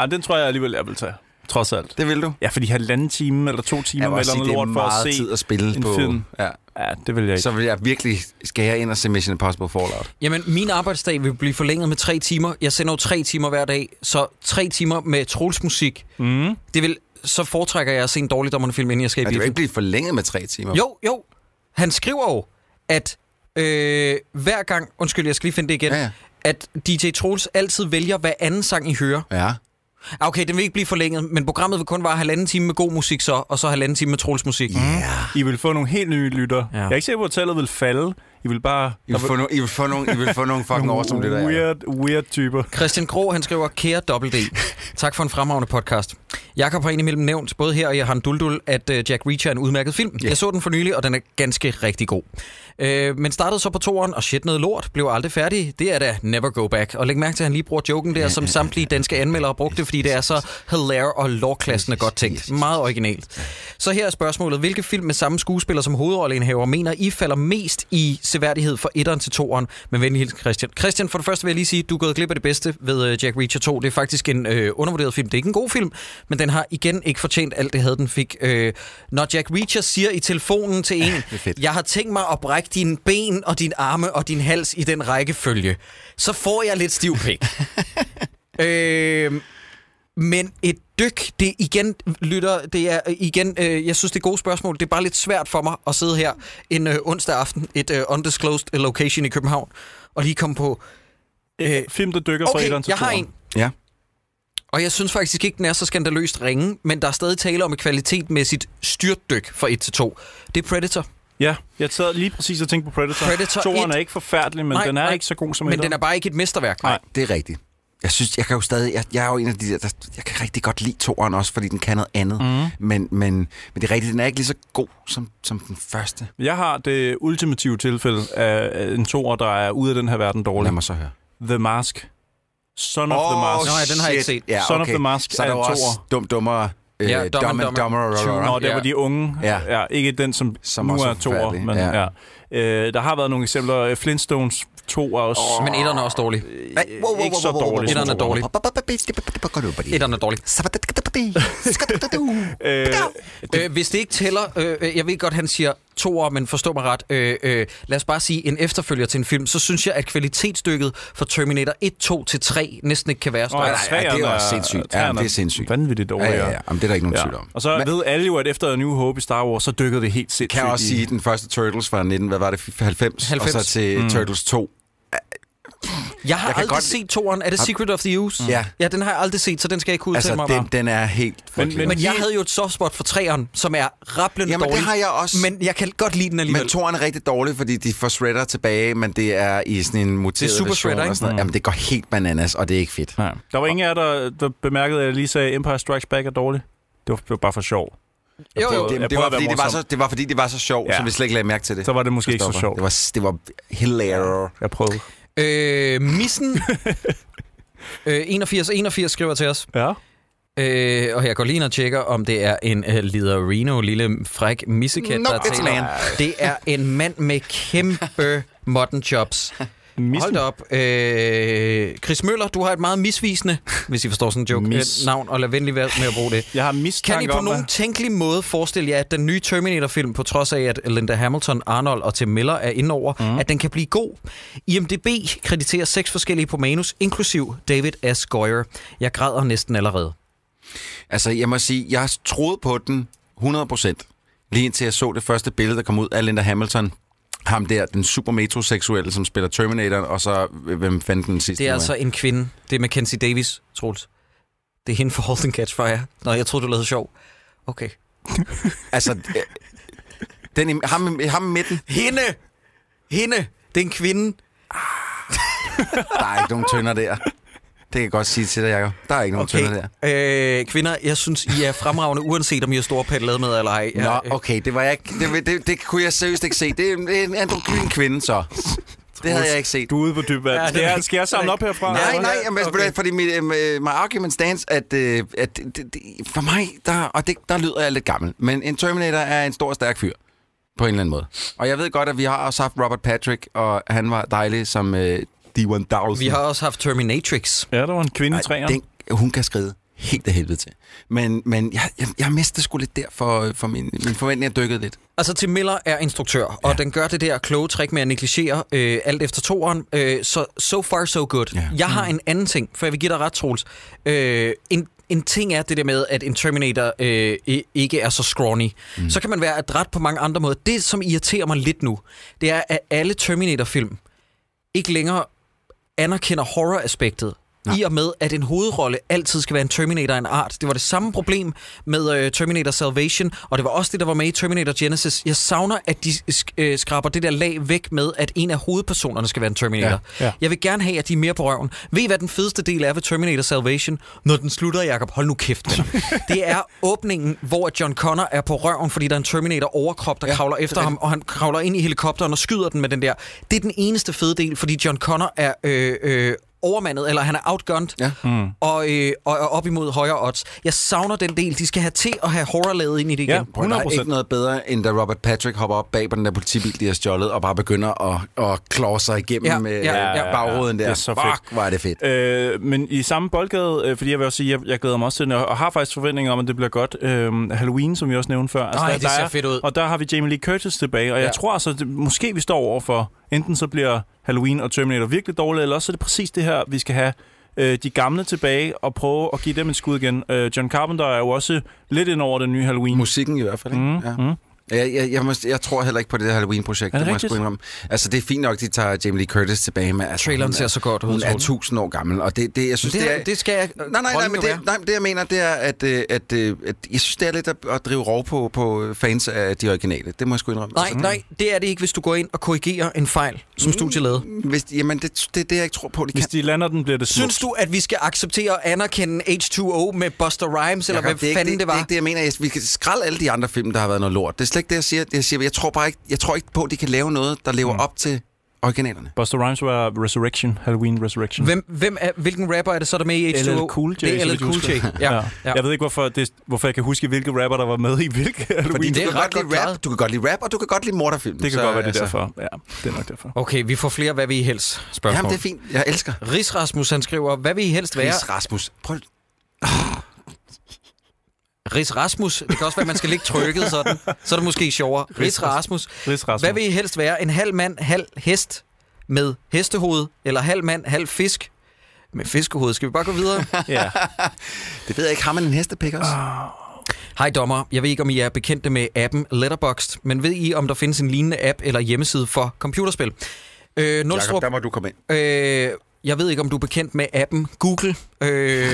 ja, den tror jeg alligevel, jeg vil tage. Trods alt.
Det vil du.
Ja, fordi halvanden time eller to timer
Jeg
eller
vil også sige,
noget
det er
lort for at
meget
se.
tid at spille
en
på.
film.
Ja.
Ja, det vil jeg ikke.
Så vil jeg virkelig skære ind og se Mission Impossible Fallout.
Jamen, min arbejdsdag vil blive forlænget med tre timer. Jeg sender jo tre timer hver dag, så tre timer med trolsmusik. Mm. Det vil, så foretrækker jeg at se en dårligdommerne film, inden jeg skal i
Men det vil
biffen.
ikke blive forlænget med tre timer.
Jo, jo. Han skriver jo, at øh, hver gang, undskyld, jeg skal lige finde det igen,
Ja, ja.
at DJ Troels altid vælger, hvad anden sang I hører.
Ja.
Ah, Okay, den vil ikke blive forlænget, men programmet vil kun vare halvanden time med god musik så, og så halvanden time med Troels musik. Yeah.
I vil få nogle helt nye lytter.
Ja.
Ja. Jeg er ikke sikker på, at tallet vil falde. I vil bare...
I vil få, no- I vil få, nogle, I vil få nogle fucking år, som det der er.
Weird, weird typer.
Christian Gro, han skriver, kære dobbelt D. Tak for en fremragende podcast. Jakob har indimellem nævnt, både her og i Han Duldul, at øh, Jack Reacher er en udmærket film. Yeah. Jeg så den for nylig, og den er ganske rigtig god. Øh, men startede så på toeren, og shit noget lort, blev aldrig færdig. Det er da never go back. Og læg mærke til, at han lige bruger joken der, som samtlige danske anmeldere brugte, fordi det er så hilarious og lårklassende godt tænkt. Meget originalt. Så her er spørgsmålet, hvilke film med samme skuespiller som hovedrolleindehaver mener I falder mest i seværdighed for etteren til toeren? Men venlig hilsen Christian. Christian, for det første vil jeg lige sige, at du er gået glip af det bedste ved øh, Jack Reacher 2. Det er faktisk en øh, undervurderet film. Det er ikke en god film, men den har igen ikke fortjent alt det had, den fik. Øh, når Jack Reacher siger i telefonen til en,
fedt.
jeg har tænkt mig at brække dine ben og din arme og din hals i den rækkefølge, så får jeg lidt stiv pik. øh, men et dyk, det er igen, lytter, det er øh, igen, øh, jeg synes, det er gode spørgsmål. Det er bare lidt svært for mig at sidde her en øh, onsdag aften, et øh, undisclosed location i København, og lige komme på,
Øh, film, der dykker fra
okay,
etteren til
jeg har
toeren.
en,
Ja.
og jeg synes faktisk ikke, den er så skandaløst ringe, men der er stadig tale om et kvalitetmæssigt styrtdyk fra 1 til 2. Det er Predator.
Ja, jeg sad lige præcis og tænkte på Predator.
Predator
Toren
et.
er ikke forfærdelig, men
Nej,
nej, den er
nej.
ikke så god som
Men
etteren.
den er bare ikke et mesterværk.
Nej.
Det er rigtigt. Jeg synes, jeg kan jo stadig, jeg, jeg er jo en af de der, der, jeg kan rigtig godt lide toeren også, fordi den kan noget andet. Mm. Men, men, men det er rigtigt, den er ikke lige så god som, som den første.
Jeg har det ultimative tilfælde af en toer, der er ude af den her verden
Lad
dårlig.
mig så høre.
The Mask. Son of the Mask.
Nå, ja, den har jeg ikke set.
Ja, okay.
Son of the Mask
så er der
er
jo
en
også
toer.
dum, dummer, øh,
Ja,
ja,
Dumb and
dumb and
Dumber.
dummer, rah, rah,
Nå,
rah.
der
Ja.
var de unge.
Ja.
ja. Ikke den, som,
Som
som nu
også er
er to år.
forfærdelig,
Men,
ja.
ja. Øh, der har været nogle eksempler. Flintstones 2 er også...
Men etteren er også dårlig.
Nej, wow, wow, wow,
ikke så
wow, wow, wow,
dårlig.
wow,
Etteren er
wow, wow,
dårlig.
wow, wow.
Etteren er dårlig.
[laughs] Øh,
Øh, hvis det ikke tæller, øh, øh, jeg ved godt, han siger to år, men forstå mig ret, øh, øh, lad os bare sige en efterfølger til en film, så synes jeg, at kvalitetsstykket for Terminator 1, 2 til 3 næsten ikke kan være større.
og
nej, nej,
træerne
det er jo også sindssygt. Ja,
træerne
det er sindssygt.
Vanvittigt
Ja,
dårligere.
ja, ja. Jamen, det er der ikke nogen tvivl om.
Og så
Men-
ved alle jo, at efter A New Hope i Star Wars, så dykkede det helt sindssygt.
kan jeg også
i-
sige, at den første Turtles var 19, hvad var det, 90,
90.
og så til mm. Turtles 2.
Jeg har
Jeg
jeg
kan
aldrig
godt-
godt... set toeren. Er det Secret of the Use?
Ja.
Ja, den har jeg aldrig set, så den skal jeg ikke kunne udtale
Altså,
mig
den,
om.
den er helt frygtelig.
men-
Men jeg havde jo et softspot for træeren, som er rablende
Jamen, det
dårlig.
har jeg også.
Men jeg kan godt lide den alligevel.
men toren er rigtig dårlig, fordi de får Shredder tilbage, men det er i sådan en muteret
Det er super
version
Shredder,
og
ikke?
sådan noget. Jamen, det går helt bananas, og det er ikke fedt.
Ja. Der var ingen af jer, der, der bemærkede, at jeg lige sagde, Empire Strikes Back er dårlig. Det var, det var bare for sjov.
Jo,
Jeg
jo.
prøvede-
Det,
jeg prøvede
det, var,
at være
fordi det, var
morsom.
så, det var fordi, det var så sjovt, ja.
Ja.
så vi slet ikke lagde mærke til det.
Så var det måske ikke så
Christoffer.
sjovt.
Det var, det var hilarious.
Jeg prøvede.
Øh,
[laughs]
missen... øh, 81, 81 skriver til os.
Ja.
Øh, og jeg går lige ind og tjekker, om det er en uh, Liderino, lille fræk missekat,
No,
der
it's
taler.
man.
Det er en mand med kæmpe mutton chops.
Missen.
Hold da op. Øh, Chris Møller, du har et meget misvisende, hvis I forstår sådan en joke,
Mis.
øh, navn, og lad venlig være med at bruge det.
Jeg har
Kan I
mistanke
på
om,
nogen
nogen...
tænkelig måde forestille jer, at den nye Terminator-film, på trods af, at Linda Hamilton, Arnold og Tim Miller er indover,
Mhm.
mm. at den kan blive god? IMDB krediterer seks forskellige på manus, inklusiv David S. Goyer. Jeg græder næsten allerede.
Altså, jeg må sige, jeg troede på den 100%, lige indtil jeg så det første billede, der kom ud af Linda Hamilton. Ham der, den super metroseksuelle, som spiller Terminator, og så, øh, hvem fandt den sidste?
Det er
nu
altså en kvinde. Det er Mackenzie Davis, Troels. Det er hende for Holden Catch Fire. Nå, jeg troede, du lavede sjov. Okay.
Altså, øh, den, i- ham, ham i midten,
Hende! Hende! Det er en kvinde.
der er ikke nogen tønder der. Det kan jeg godt sige til dig, Jacob. Der er ikke nogen okay. tønder der.
Okay. Øh, kvinder, jeg synes, I er fremragende, uanset om I er store paddlet med eller ej. øh, Jeg,
Nå, okay, det var jeg ikke, det, det, det kunne jeg seriøst ikke se. Det er en- det er en androgyn kvinde,
[laughs]
så. Det havde jeg ikke set.
du er ude på dyb vand.
Ja,
Ja,
det
det
er
er,
ikke-
skal jeg samle op herfra?
Nej,
Eller hvad?
nej, jamen, okay. fordi mit, øh, my argument stands, at, øh, at det, det, for mig, der, og det, der lyder jeg lidt gammel, men en Terminator er en stor, stærk fyr. På en eller anden måde. Og jeg ved godt, at vi har også haft Robert Patrick, og han var dejlig som øh, D-1000.
vi har også haft Terminatrix.
Ja, der var en kvinde i
Ej,
træerne.
den, hun kan skride helt af helvede til. Men, men jeg, jeg, jeg mistede sgu lidt der, for, for min, min forventning er dykket lidt.
Altså, Tim Miller er instruktør, og den gør det der kloge trick med at negligere øh, alt efter toeren. Øh, så so far, so good.
Ja.
Jeg har en anden ting, for jeg vil give dig ret, Troels. Øh, en, en ting er det der med, at en Terminator øh, i- ikke er så scrawny. Mm. Så kan man være adræt på mange andre måder. Det, som irriterer mig lidt nu, det er, at alle Terminator-film ikke længere anerkender horror-aspektet. I og med, at en hovedrolle altid skal være en Terminator af en art. Det var det samme problem med øh, Terminator Salvation, og det var også det, der var med i Terminator Genesis. Jeg savner, at de sk- øh, skraber det der lag væk med, at en af hovedpersonerne skal være en Terminator.
Ja, ja.
Jeg vil gerne have, at de er mere på røven. Ved I, hvad den fedeste del er ved Terminator Salvation? Når den slutter, Jacob, hold nu kæft. venner. det er åbningen, hvor John Connor er på røven, fordi der er en Terminator overkrop, der ja, kravler efter ham, og han kravler ind i helikopteren og skyder den med den der. Det er den eneste fede del, fordi John Connor er... Øh, øh, overmandet, eller han er outgunned,
Ja.
mm. og, øh, og er op imod højere odds. Jeg savner den del. De skal have til at have horror lavet ind i det igen.
Ja.
Prøv, der er
100%.
ikke noget bedre, end da Robert Patrick hopper op bag på den der politibil, de har stjålet, og bare begynder at, at klore sig igennem
Ja,
ja, med
ja,
ja,
ja,
ja,
ja.
bagruden der.
Det er så
Fuck, hvor er det fedt.
Øh, men i samme boldgade, øh, fordi jeg vil også sige, jeg, jeg glæder mig også til den, og og har faktisk forventninger om, at det bliver godt. Øh, Halloween, som vi også nævnte før. Altså,
Ej,
der,
det
der
ser
er,
fedt ud.
Og der har vi Jamie Lee Curtis tilbage, og ja.
Ja.
jeg tror altså, det, måske vi står over for, enten så bliver Halloween og Terminator virkelig dårlige, eller også er det præcis det her, vi skal have øh, de gamle tilbage og prøve at give dem et skud igen. Øh, John Carpenter er jo også lidt ind over den nye Halloween.
Musikken i hvert fald, ikke? Mm, ja. Mm. Jeg, jeg, jeg, må, jeg tror heller ikke på det der Halloween-projekt.
Er det
må jeg sgu
rigtigt?
indrømme. Altså, det er fint nok, at de tager Jamie Lee Curtis tilbage med. Altså,
Traileren
hun
ser
er-
så godt ud,
Hun er
Troels.
1000 år gammel, og det, det jeg synes,
Det,
det,
det, det skal jeg...
Nej, nej, nej,
rollen
men
jo
det, nej, men det jeg mener, det er, at, øh, at, øh, at jeg synes, det er lidt at, at drive rov på, på fans af de originale. Det må jeg sgu indrømme. Altså,
Nej, nej, det er det ikke, hvis du går ind og korrigerer en fejl, som studiet lavede.
Altså, hvis, jamen, det, det er det, jeg ikke tror på, de
Hvis
kan.
de lander den, bliver det smukt.
Synes du, at vi skal acceptere og anerkende H2O med Buster Rhymes, eller
Jacob,
hvad
er ikke
fanden det,
det,
var?
Det er ikke det, jeg mener. Jeg, vi kan skralde alle de andre film, der har været noget lort. Det er slet ikke det, jeg siger. Jeg, siger, jeg tror bare ikke, jeg tror ikke på, at de kan lave noget, der lever mm. op til originalerne.
Buster Rhymes var Resurrection, Halloween Resurrection.
Hvem, hvem er, hvilken rapper er det så, der er med i H2O?
LL Cool J.
Det er
så
LL
vidt jeg
Cool J.
husker.
Ja, ja.
Jeg ved ikke, hvorfor, det, hvorfor jeg kan huske, hvilke rapper, der var med i hvilke [laughs]
Fordi
Halloween.
du,
det er
kan
ret
godt
godt
lide
klaret.
rap, du kan godt lide rap, og du kan godt lide morderfilm.
Det kan godt være, det
altså-
er derfor. Ja, det er nok derfor.
Okay, vi får flere, hvad vi helst. Spørgsmål.
Jamen, det er fint. Jeg elsker.
Ris Rasmus, han skriver, hvad vil I helst være?
Chris Rasmus. Prøv,
Ris Rasmus. Det kan også være, man skal ligge trykket [laughs] sådan. Så er det måske sjovere. Ris Rasmus.
Ris Rasmus.
Hvad vil I helst være? En halv mand, halv hest med hestehoved, eller halv mand, halv fisk med fiskehoved? Skal vi bare gå videre?
Ja.
det ved jeg ikke. Har man en hestepik også?
Ah,
Hej dommer, jeg ved ikke om I er bekendte med appen Letterboxd, men ved I om der findes en lignende app eller hjemmeside for computerspil? Øh, Nulstrup,
Jakob, der må du komme ind.
øh, jeg ved ikke om du er bekendt med appen Google. Øh,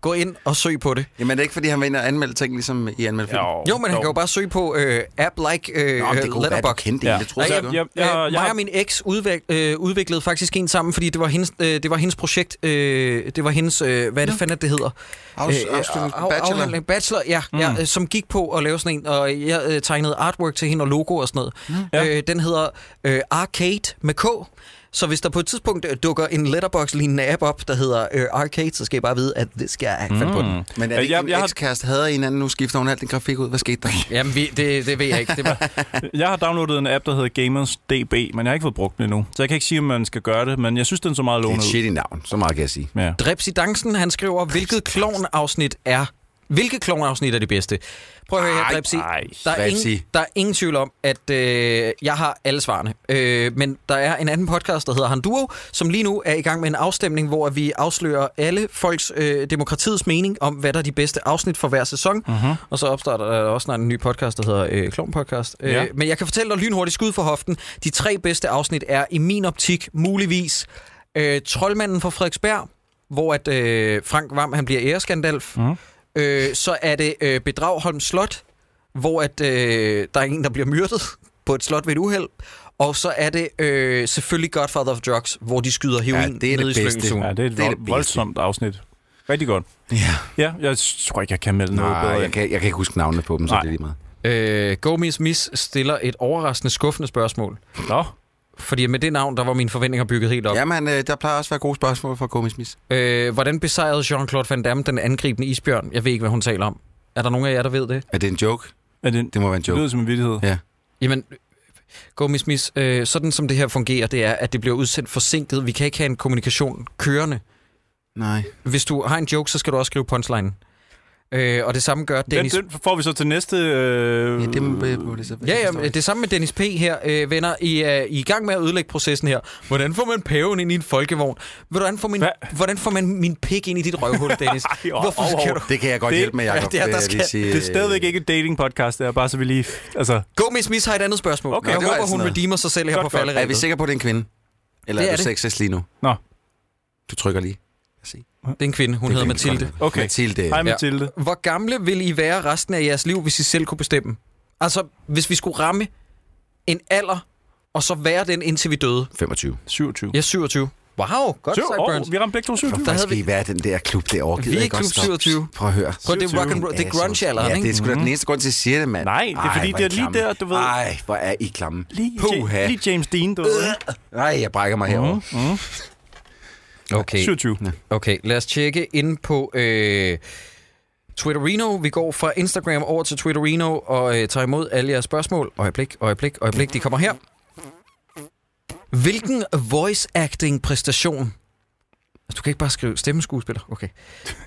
gå ind og søg på det.
Jamen, det er ikke, fordi han vil ind og anmelde ting, ligesom I anmelder film.
Jo, men han kan jo bare søge på øh, app like øh,
Nå, men det kunne være, du
Letterboxd.
kendte ja. det, tror
Nej, jeg,
jeg. ikke.
jeg,
jeg-
jeg,
jeg- jeg
mig
har-
og min eks udvæk, øh, udviklede faktisk en sammen, fordi det var hendes, øh, det var hendes projekt. Øh, det var hendes, øh, hvad er det fanden, at det hedder?
Afs- afslutning på Bachelor.
Øh, afhandling- bachelor, ja, mm. ja øh, som gik på at lave sådan en, og jeg øh, tegnede artwork til hende og logo og sådan noget. Mm. Øh, den hedder øh, Arcade med K Så hvis der på et tidspunkt øh, dukker en letterbox-lignende app op, der hedder øh, Arcade, så skal I bare vide, at det skal jeg mm. på den.
Men er det
Øh, jeg-
ikke jeg,
jeg
jeg
har-
en ekskæreste havde en anden, nu skifter hun alt den grafik ud. Hvad skete der?
Jamen, vi, det, det ved jeg ikke. Det [laughs] var,
Jeg har downloadet en app, der hedder Gamers DB, men jeg har ikke fået brugt den endnu. Så jeg kan ikke sige, om man skal gøre det, men jeg synes, den så meget
Det er
lovende
et
ud.
shitty navn, så meget kan jeg sige.
Ja.
Dreps i Dancen, han skriver, hvilket klovnafsnit er... Hvilket klovnafsnit er det bedste? Prøv at høre her,
Ej,
Drepsi.
ej,
Der er, ingen,
Drepsi.
der er ingen tvivl om, at øh, jeg har alle svarene. Øh, men der er en anden podcast, der hedder Handuro, som lige nu er i gang med en afstemning, hvor vi afslører alle folks øh, demokratiets mening om, hvad der er de bedste afsnit for hver sæson. Mm-hmm. Og så opstarter der også snart en ny podcast, der hedder øh, Klon Podcast. Øh,
Ja.
Men jeg kan fortælle dig lynhurtigt skud for hoften. De tre bedste afsnit er i min optik muligvis øh, Troldmanden fra Frederiksberg, hvor at øh, Frank Vam han bliver æreskandalf. Mm. Øh, så er det øh, Bedragholm Slot, hvor at, øh, der er en, der bliver myrdet på et slot ved et uheld. Og så er det øh, selvfølgelig Godfather of Drugs, hvor de skyder heroin ja, det er ned det i
bedste.
slyngelsugen.
Ja, det er et
Det er
vold,
det bedste.
voldsomt afsnit. Rigtig godt.
Ja.
Ja, jeg tror ikke, jeg kan melde noget øh.
Nej,
bedre.
jeg kan, jeg kan ikke huske navnene på dem, så
Nej.
Nej. det er lige meget.
Øh, Gomis Miss stiller et overraskende skuffende spørgsmål.
Nå,
Fordi med det navn, der var mine forventninger bygget helt op.
Jamen, øh, der plejer også at være gode spørgsmål fra Komisk Mis.
Øh, hvordan besejrede Jean-Claude Van Damme den angribende isbjørn? Jeg ved ikke, hvad hun taler om. Er der nogen af jer, der ved det?
Er det en joke?
er det, det
Det må være en joke.
lyder som en vildhed.
Ja.
Jamen, gå mis, mis. Øh, sådan som det her fungerer, det er, at det bliver udsendt forsinket. Vi kan ikke have en kommunikation kørende.
Nej.
Hvis du har en joke, så skal du også skrive punchline. Øh, og det samme gør
Den,
Dennis...
den får vi så til næste... Øh...
Ja, det må, må det så være.
Ja, ja, det samme med Dennis P. her, øh, venner. I er i er i gang med at ødelægge processen her. Hvordan får man paven ind i en folkevogn? Hvordan får, min,
Hva?
hvordan får man min pik ind i dit røvhul, Dennis?
Ej, og-
Hvorfor
og-
skal du...
Det kan jeg godt
Det-
hjælpe med, Jacob.
ja, det er- der
vil
skal-
jeg sige.
Det er stadigvæk
øh,
ikke et dating-podcast, det er bare så vi lige... Altså,
Gå mis, mis har et andet spørgsmål.
Okay.
Okay, jeg
Nå, det var
håber,
altså
hun
noget.
redeemer sig selv her
Godt,
på
godt.
falderæbet.
Er vi sikre på, at det er en kvinde? Eller
Det
det er,
er
er du
det.
sexist lige nu?
Nå.
Du trykker lige.
Det er en kvinde. Hun
Det
hedder
kan vi godt
Mathilde.
lide.
Okay.
Mathilde.
hej
Ja.
Mathilde.
Hvor gamle vil I være resten af jeres liv, hvis I selv kunne bestemme? Altså, hvis vi skulle ramme en alder, og så være den, indtil vi døde.
25.
27.
Jeg er 27. Wow, godt
Syv,
sagt,
oh,
Burns.
vi ramte begge to 27.
Der
Der
havde
skal
vi-
I være den der klub derovre. Gider
Vi er
I
ikke
godt
klub
stoppe?
27.
Prøv at høre.
Prøv, det er rock and roll. Det er grunge-alderen,
Ja,
ikke?
det er sgu da den eneste grund til, at jeg siger det, mand.
Nej, det er fordi,
hvor
det er
I
lige
klamme.
der, du ved. Øh.
Ej, hvor er I klamme.
Lige,
Puha.
lige James Dean, Mhm. du ved.
Nej, jeg brækker mig herovre.
Okay,
27.
okay. Lad os tjekke ind på øh, Twitterino. Vi går fra Instagram over til Twitterino og øh, tager imod alle jeres spørgsmål. Øjeblik, øjeblik, øjeblik. De kommer her. Hvilken voice acting præstation Altså, du kan ikke bare skrive stemmeskuespiller. Okay.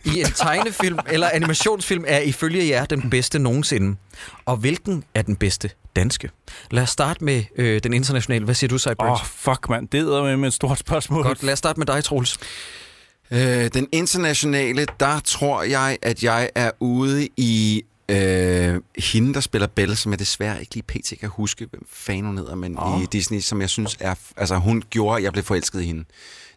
I en tegnefilm
[laughs]
eller animationsfilm er ifølge jer den bedste nogensinde. Og hvilken er den bedste danske? Lad os starte med øh, den internationale. Hvad siger du,
Åh,
Cypress?
oh, fuck, mand. Det er med et stort spørgsmål.
Godt, lad os starte med dig, Troels.
Øh, den internationale, der tror jeg, at jeg er ude i øh, hende, der spiller Belle, som jeg desværre ikke lige pt. kan huske, hvem fanden hun hedder, men oh. i Disney, som jeg synes er... Altså, hun gjorde, at jeg blev forelsket i hende,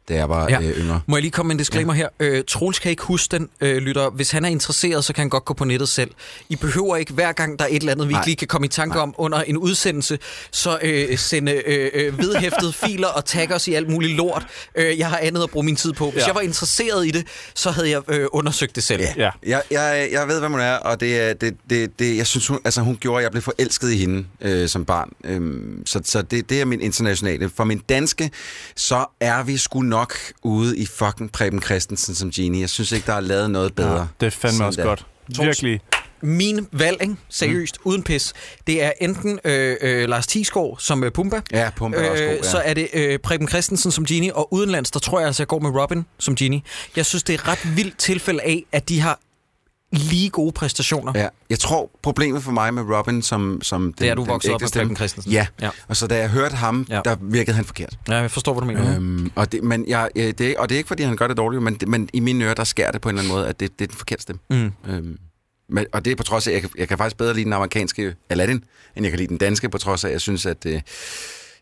da jeg var
Ja.
ja. øh, yngre.
Må jeg lige komme med en disclaimer her? Øh, Troels kan ikke huske den, øh, lytter. Hvis han er interesseret, så kan han godt gå på nettet selv. I behøver ikke, hver gang der er et eller andet, vi ikke
Nej.
lige kan komme i tanke om under en udsendelse, så øh, sende øh, øh, vedhæftede filer og tagge os i alt muligt lort. Øh, jeg har andet at bruge min tid på. Hvis
Ja.
ja. jeg var interesseret i det, så havde jeg øh, undersøgt det selv. Ja.
Ja.
Jeg, jeg, jeg ved, hvad hun er, og det, er- det, det, det, jeg synes, hun, altså, hun gjorde, at jeg blev forelsket i hende øh, som barn. Øhm, så så det, det er min internationale. For min danske, så er vi sgu nok ude i fucking Preben Christensen som Genie. Jeg synes ikke, der er lavet noget bedre. Ja,
Det er fandme også godt. Virkelig.
Min valg, ikke? seriøst, mm. uden pis, det er enten øh, øh, Lars Tisgaard som øh, Pumba,
Ja, Pumba er også god, ja.
så er det øh, Preben Christensen som Genie, og udenlands, der tror jeg altså, jeg går med Robin som Genie. Jeg synes, det er et ret vildt tilfælde af, at de har lige gode præstationer. Ja.
Ja, jeg tror, problemet for mig med Robin, som, som
Det er, du voksede op
ægte
med
stemme-
Preben Christensen.
Ja.
Ja.
ja, og så da jeg hørte ham,
Ja.
ja. der virkede han forkert.
ja, jeg forstår, hvad du mener. Mm.
Øhm, og, det, men jeg, øh, det, er ikke- og det er ikke, fordi han gør det dårligt, men, det- men i mine ører, der skærer det på en eller anden måde, at det, det er den forkerte stemme.
Mm.
Øhm, men, og det er på trods af, at jeg, kan- jeg kan faktisk bedre lide den amerikanske Aladdin, end jeg kan lide den danske, på trods af, at jeg synes, at... Øh,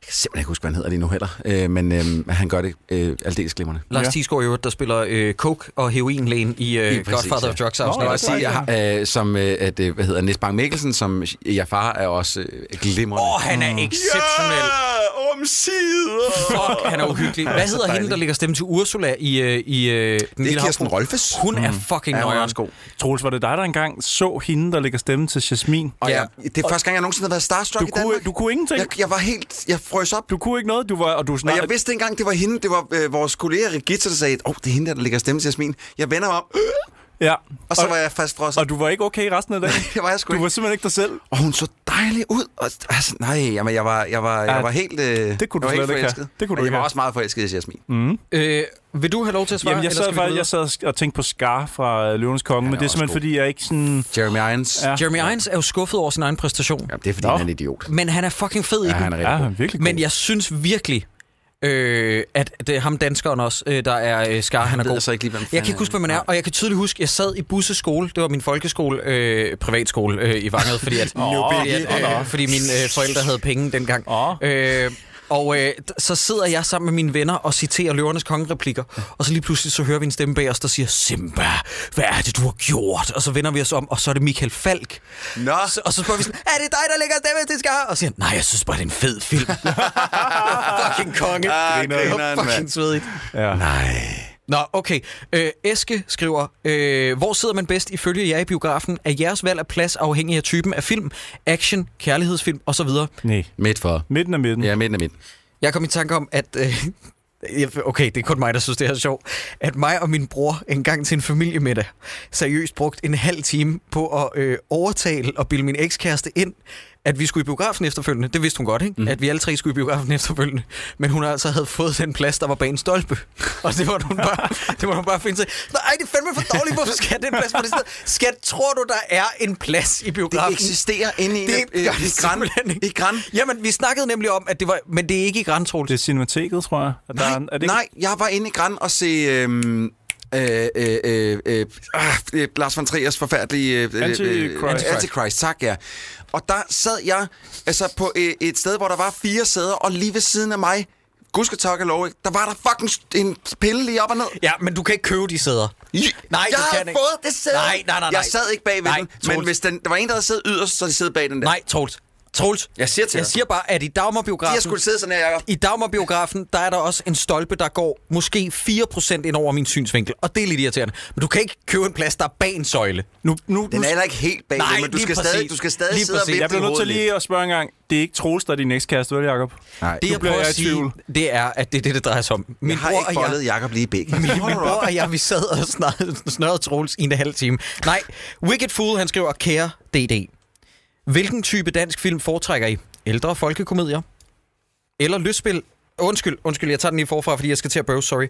jeg kan simpelthen ikke huske, hvad han hedder lige nu heller, øh, men øh, han gør det øh, aldeles glimrende.
Lars
Ja.
ja. Tisgaard i øvrigt, der spiller øh, Coke og heroinlægen i øh,
Lige præcis,
Godfather
ja.
of Drugs
Jeg
afsnit.
vil
Nå,
også sige, jeg har, øh, som, øh, at, øh, hvad hedder Niels Bang Mikkelsen, som jeg far er også øh, glimrende.
Åh, han er exceptionel.
Åh,
omsider!
Fuck, han er uhyggelig. Hvad hedder hende, der ligger stemme til Ursula i, øh, i øh, Den
Det
Lille
er Kirsten
Havfrue?
Rolfes.
Hun er fucking
Mm. Ja, hun er
nøjeren.
også god.
Troels, var det dig, der engang så hende, der lægger stemme til Jasmin?
Og
Ja.
ja. jeg, det er første gang, jeg nogensinde har været starstruck
Du
i
kunne,
Danmark.
du kunne ingenting.
jeg, jeg var helt... Jeg frøs op.
Du kunne ikke noget, du var, og du
Og
snakkede...
jeg vidste ikke engang, det var hende. Det var øh, vores kollega Regitta, der sagde, åh, oh, det er hende, der, der ligger stemme til Jasmin. Jeg vender mig om, øh,
Ja.
og så var jeg fast frosset.
og du var ikke okay resten af dagen?
[laughs] Det var jeg
[laughs]
sgu
Du var
ikke.
simpelthen ikke dig selv.
Og hun så dejlig ud. Og, altså, nej, jamen, jeg var, jeg var,
Ja,
jeg var helt, øh, det
kunne du
jeg var
slet ikke have.
forelsket.
Det kunne du
Men
ikke
jeg var
have.
også meget forelsket i Jasmin. Mm.
Øh, vil du have lov til at svare?
Jamen, Mhm. jeg
eller
sad,
skal vi gå
faktisk, jeg sad og tænkte på Scar fra øh, Løvens Konge,
Han er
men det er
også
simpelthen,
god.
fordi jeg ikke sådan...
Jeremy Irons.
Ja.
Ja.
videre? Jeremy Irons er jo skuffet over sin egen præstation,
Jamen, det er fordi,
Nå.
han er en idiot.
men han er fucking fed i
Ja,
den.
han er
Ja,
rigtig
han
god.
er virkelig god.
Men jeg synes virkelig, øh, at det er ham danskeren også, øh, der er øh, Skar, han er
Jeg ved
god.
altså ikke lige, hvem
Jeg kan ikke huske, hvad man er, og jeg kan tydeligt huske, jeg sad i Busse skole, det var min folkeskole, øh, privatskole øh, i Vangede, fordi,
[laughs]
at, fordi, at, øh, fordi mine øh, forældre havde penge dengang.
Åh.
Øh, og øh, d- så sidder jeg sammen med mine venner og citerer løvernes kongereplikker, og så lige pludselig så hører vi en stemme bag os, der siger, Simba, hvad er det, du har gjort? Og så vender vi os om, og så er det Michael Falk.
Nå,
Så, og så spørger vi sådan, er det dig, der lægger stemme til Skar? Og siger, han, nej, jeg synes bare, det er en fed film.
[laughs]
fucking konge.
Ah,
det var
grineren, mand.
fucking svedigt.
Ja.
Nå, okay. Øh, Eske skriver, øh, hvor sidder man bedst ifølge jer i biografen? Er jeres valg af plads afhængig af typen af film, action, kærlighedsfilm osv.?
Nej.
midt for.
Midten af midten.
Ja, midten af midten.
Jeg kom i tanke om, at... Øh, [laughs] jeg- okay, det er kun mig, der synes, det her er sjovt. At mig og min bror engang til en familiemiddag seriøst brugt en halv time på at øh, overtale og bilde min ekskæreste ind, at vi skulle i biografen efterfølgende. Det vidste hun godt, ikke? Mm. At vi alle tre skulle i biografen efterfølgende. Men hun altså havde fået den plads, der var bag en stolpe. Og det
[laughs]
var hun bare, det var hun bare finde sig. Nej, det er fandme for dårligt. Hvorfor skal jeg have den plads på det sted? Skat, tror du, der er en plads i
Det
biografen?
eksisterer inde i,
Det
det, øh,
gør
i
det
Gran.
simpelthen ikke.
I Gran.
Jamen, vi snakkede nemlig om, at det var... Men det er ikke i Grand, Troels.
Det er Cinemateket, tror jeg. At
Nej,
er, en- er det
nej, jeg var inde i Gran og se... Øhm, øh, øh, øh, øh, ah, øh, Lars von Triers forfærdelige... Øh, øh, øh,
Antichrist.
Antichrist, tak, ja. Og der sad jeg altså på øh, et sted, hvor der var fire sæder, og lige ved siden af mig, gudske tak og lov, ikke, der var der fucking st- en pille lige op og ned.
Ja, men du kan ikke købe de sæder. Nej,
jeg
du
havde
kan ikke.
fået det sæde.
Nej, nej, nej, nej.
Jeg sad ikke bagved
Nej,
den, men
Troels.
hvis den, der var en, der havde siddet yderst, så havde de siddet bag den der.
Nej, Troels. Troels.
Jeg siger til
Jeg
dig.
siger bare, at i
De har
Dagmarbiografen...
skulle sidde sådan her, Jacob.
I Dagmarbiografen, der er der også en stolpe, der går måske 4% ind over min synsvinkel, og det er lidt irriterende. Men du kan ikke købe en plads, der er bag en søjle.
Nu, nu,
Den
nu,
er heller ikke helt bag,
Nej,
Nej, men du
lige
skal,
præcis.
stadig, du skal stadig
Lige
sidde
præcis.
og
jeg
vifte
bliver
i
nødt til
hovedet
lige at spørge en gang. Det er ikke Troels, der er din ekskæreste, vel, Jacob?
Nej,
Det,
Nu
jeg
bliver
prøver
jeg
at
i
sige,
tvivl.
det er, at det er det, det drejer sig om. Min
jeg har ikke boldet Jacob lige i begge.
Min bror og jeg, vi sad og snørrede, snørrede Troels i en halv time. Nej, Wicked Fool, han skriver, kære DD. Hvilken type dansk film foretrækker I? Ældre folkekomedier? Eller lystspil? Undskyld, undskyld, jeg tager den lige forfra, fordi jeg skal til at bøve, sorry.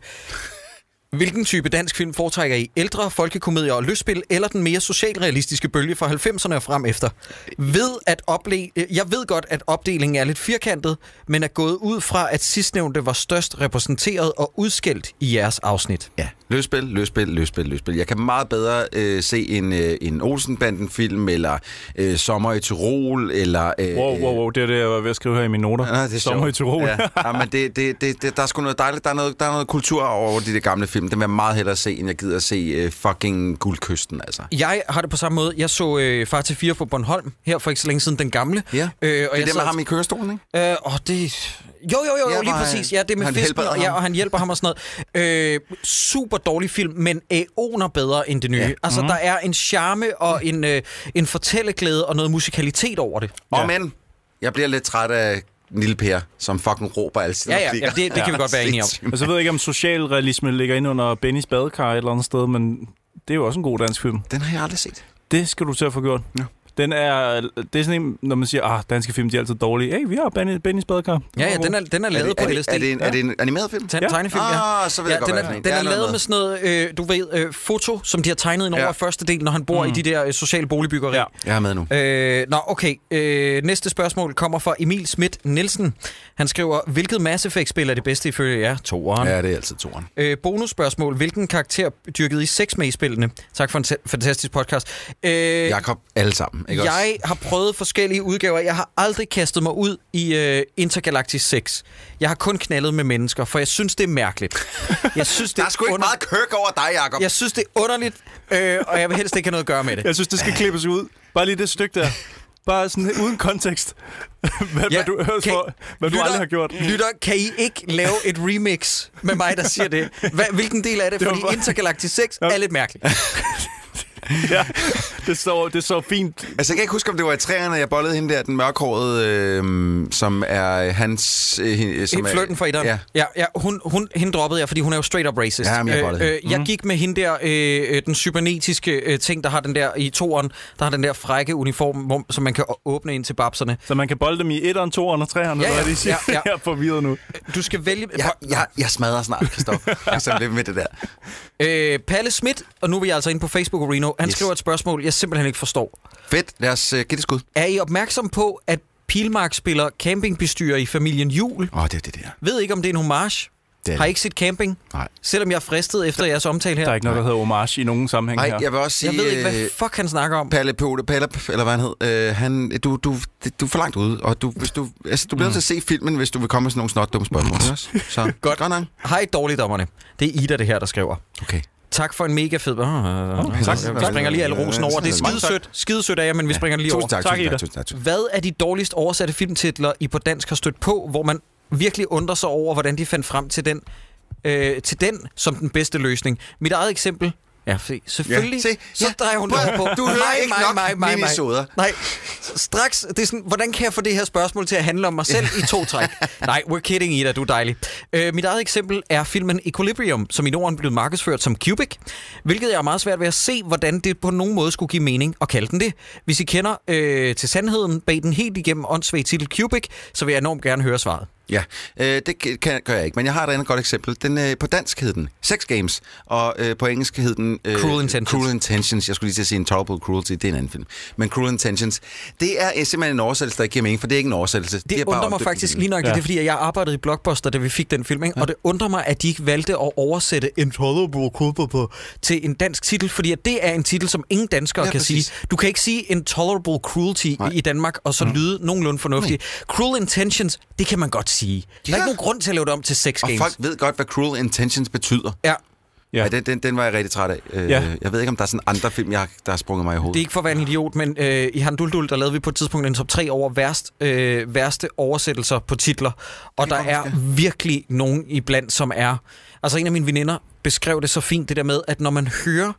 Hvilken type dansk film foretrækker I? Ældre folkekomedier og lystspil, eller den mere socialrealistiske bølge fra 90'erne og frem efter? Ved at ople- øh, jeg ved godt, at opdelingen er lidt firkantet, men er gået ud fra, at sidstnævnte var størst repræsenteret og udskilt i jeres afsnit.
Ja, løsspil, løsspil, løsspil, løsspil. Jeg kan meget bedre øh, se en, øh, en Olsenbanden-film, eller øh, Sommer i Tirol, eller... Øh,
Wow, wow, wow. Det er det, jeg var ved at skrive her i mine noter.
Øh, nej, det er
Sommer i
sjovt.
Tirol.
Ja, ja men det, det, det, det, der er sgu noget dejligt. Der er noget, der er noget kultur over de der gamle film. Den vil jeg meget hellere se, end jeg gider at se øh, fucking Guldkysten, altså.
Jeg har det på samme måde. Jeg så øh, Far til 4 på Bornholm her for ikke så længe siden, den gamle.
Ja,
øh, og
Det er
jeg
det med
sad-
ham i kørestolen, ikke?
Øh, åh, det... Jo, jo, jo, jo
Ja,
lige
hvor han-
præcis. Ja, det er med
han
fisken,
hjælper
og, ja,
ham.
og han hjælper ham og sådan noget. Øh, super dårlig film, men æoner bedre end det nye. Ja.
Mhm.
Altså, der er en charme og en, øh, en fortælleglæde og noget musikalitet over det.
Og men, jeg bliver lidt træt af Nille Per, som fucking råber altid.
Ja,
og
ja,
flikker.
ja det, det kan vi godt være enige om.
[laughs]
sindssygt.
Og så ved jeg ikke, om socialrealisme ligger inde under Bennys badekar et eller andet sted, men det er jo også en god dansk film.
[laughs] Den har jeg aldrig set.
Det skal du til at få gjort.
Ja.
Den er, det er sådan en, når man siger, ah, danske film, de er altid dårlige. Hey, vi har Benny, Bennys badekar.
Ja, ja, den er, den er lavet
Er det,
på
er,
LSD.
det, er, det en, er det en animeret film?
Te- Tegnefilm, ja.
Ah, så ved
Ja,
jeg godt,
den
hvad
er,
det
den er lavet med sådan noget, øh, du ved, øh, foto, som de har tegnet ind over
Ja.
i første del, når han bor mm. i de der øh, sociale boligbyggerier.
Ja.
Jeg er med nu.
Øh, nå, okay. Øh, næste spørgsmål kommer fra Emil Schmidt Nielsen. Han skriver, hvilket Mass Effect-spil er det bedste ifølge jer? Toeren. Ja.
Ja, det er altid toren.
Øh, bonusspørgsmål. Hvilken karakter dyrkede I sex med i spillene? Tak for en sa- fantastisk podcast. Øh, jeg,
Jakob, alle sammen, ikke også?
jeg har prøvet forskellige udgaver. Jeg har aldrig kastet mig ud i øh, Intergalactic 6. Jeg har kun knaldet med mennesker, for jeg synes, det er mærkeligt. Jeg synes, det
[laughs] Der er sgu ikke
under-
meget kirk over dig, Jakob.
Jeg synes, det er underligt, øh, og jeg vil helst ikke have noget at gøre med det.
Jeg synes, det skal klippes ud. Bare lige det stykke der. Bare sådan uden kontekst. [laughs] hvad, ja, hvad du høres
kan-
for, hvad du aldrig har gjort.
Lytter, kan I ikke lave et remix med mig, der siger det? Hva, hvilken del af det?
[laughs] Det var
Fordi
bare-
Intergalactic 6 er lidt mærkeligt.
[laughs] ja, det så, det så fint.
Altså, jeg kan ikke huske, om det var i træerne, jeg bollede hende der, den mørkhårede, øh, som er hans... Øh, hende- som
Som flirten fra etteren.
Ja.
Ja. ja, ja hun, hun, hende droppede jeg, fordi hun er jo straight up racist.
Ja, men jeg bollede
øh, øh, jeg gik med hende der, øh, øh, den cybernetiske øh, ting, der har den der i toeren, der har den der frække uniform, hvor, som man kan å- åbne ind til babserne.
Så man kan bolde dem i 1'eren, 2'eren og 3'eren, ja, ja,
ja,
hvad de siger.
ja, ja.
Ja, ja. Jeg er forvirret nu.
Du skal vælge...
Jeg, jeg, jeg smadrer snart, [laughs] Kristoffer. Altså, lidt med det der.
Øh, Palle Schmidt, og nu er vi altså inde på Facebook og Reno, han
Yes.
yes. skriver et spørgsmål, jeg simpelthen ikke forstår.
Fedt, lad os øh, give det et skud.
Er I opmærksom på, at Pilmark spiller campingbestyrer i familien Jul?
Åh, oh, det er det der.
Ved ikke, om det er en homage.
Det er
Har
det.
ikke set camping,
Nej.
selvom jeg er fristet efter jeres omtale her.
Der er ikke noget, der hedder homage i nogen sammenhæng
Nej,
her.
jeg vil også sige...
Jeg ved ikke,
øh,
hvad fuck han snakker om.
Palle Pote, Palle, eller hvad han hed, øh, han, du, du, du er for langt ude, og du, hvis du, altså, du bliver
Mm.
nødt til at se filmen, hvis du vil komme med sådan nogle snotdumme spørgsmål. ikke også? Så, godt. Godt nok.
Hej dårligdommerne. Det er Ida, det her, der skriver.
Okay.
Tak for en mega fed... Oh,
tak.
Jeg springer lige alle rosen over. Det er skidesødt, skidesødt af jer, men vi springer det lige over.
Tusind tak,
Tak,
tusind
Ida.
tak, tusind tak. tusind
Hvad er de dårligst oversatte filmtitler, I på dansk har stødt på, hvor man virkelig undrer sig over, hvordan de fandt frem til den, øh, til den som den bedste løsning? Mit eget eksempel... Ja, se, selvfølgelig.
Ja, se,
så
ja.
drejer hun
Prøv
det
at-
over på.
du hører ikke nok minisoder.
Nej, straks. Det er sådan, hvordan kan jeg få det her spørgsmål til at handle om mig selv i to træk? [laughs] Nej, we're kidding, Ida, du er dejlig. Øh, mit eget eksempel er filmen Equilibrium, som i Norden blev markedsført som Cubic, hvilket jeg er meget svært ved at se, hvordan det på nogen måde skulle give mening at kalde den det. Hvis I kender øh, til sandheden bag den helt igennem åndssvage titel Cubic, så vil jeg enormt gerne høre svaret.
tak. Ja, øh, det kan- kan, gør jeg ikke, men jeg har et andet godt eksempel. Den, øh, på dansk hed den Sex Games, og øh, på engelsk hed den... Øh,
Cruel Intentions.
Cruel Intentions. Jeg skulle lige til at sige Intolerable Cruelty, det er en anden film. Men Cruel Intentions, det er øh, simpelthen en oversættelse, der ikke giver mening, for det er ikke en oversættelse.
Det
er bare
undrer mig
omdøbt
faktisk
til-
lige nok, ja.
Ja.
det er fordi, at jeg arbejdede i Blockbuster, da vi fik den film, ikke? Ja. og det undrer mig, at de ikke valgte at oversætte Intolerable Culpable til en dansk titel, fordi at det er en titel, som ingen danskere
Ja,
ja, kan
præcis. Mm.
sige. Du kan ikke sige Intolerable Cruelty Nej. i Danmark, og så lyde nogenlunde fornuftigt. Cruel Intentions, det kan man godt sige. Der er
Ja.
ikke nogen grund til at lave det om til sex
Og
games.
folk ved godt, hvad Cruel Intentions betyder.
Ja,
Ja.
Ja.
Ej, den, den, den var jeg rigtig træt af. Øh, ja.
Ja.
Jeg ved ikke, om der er sådan andre film, jeg, har- der har sprunget mig i hovedet.
det er ikke for at være en idiot, men øh, i Handuldul, der lavede vi på et tidspunkt en top 3 over værst, øh, værste oversættelser på titler. Og der er virkelig nogen iblandt, som er... Altså en af mine veninder beskrev det så fint, det der med, at når man hører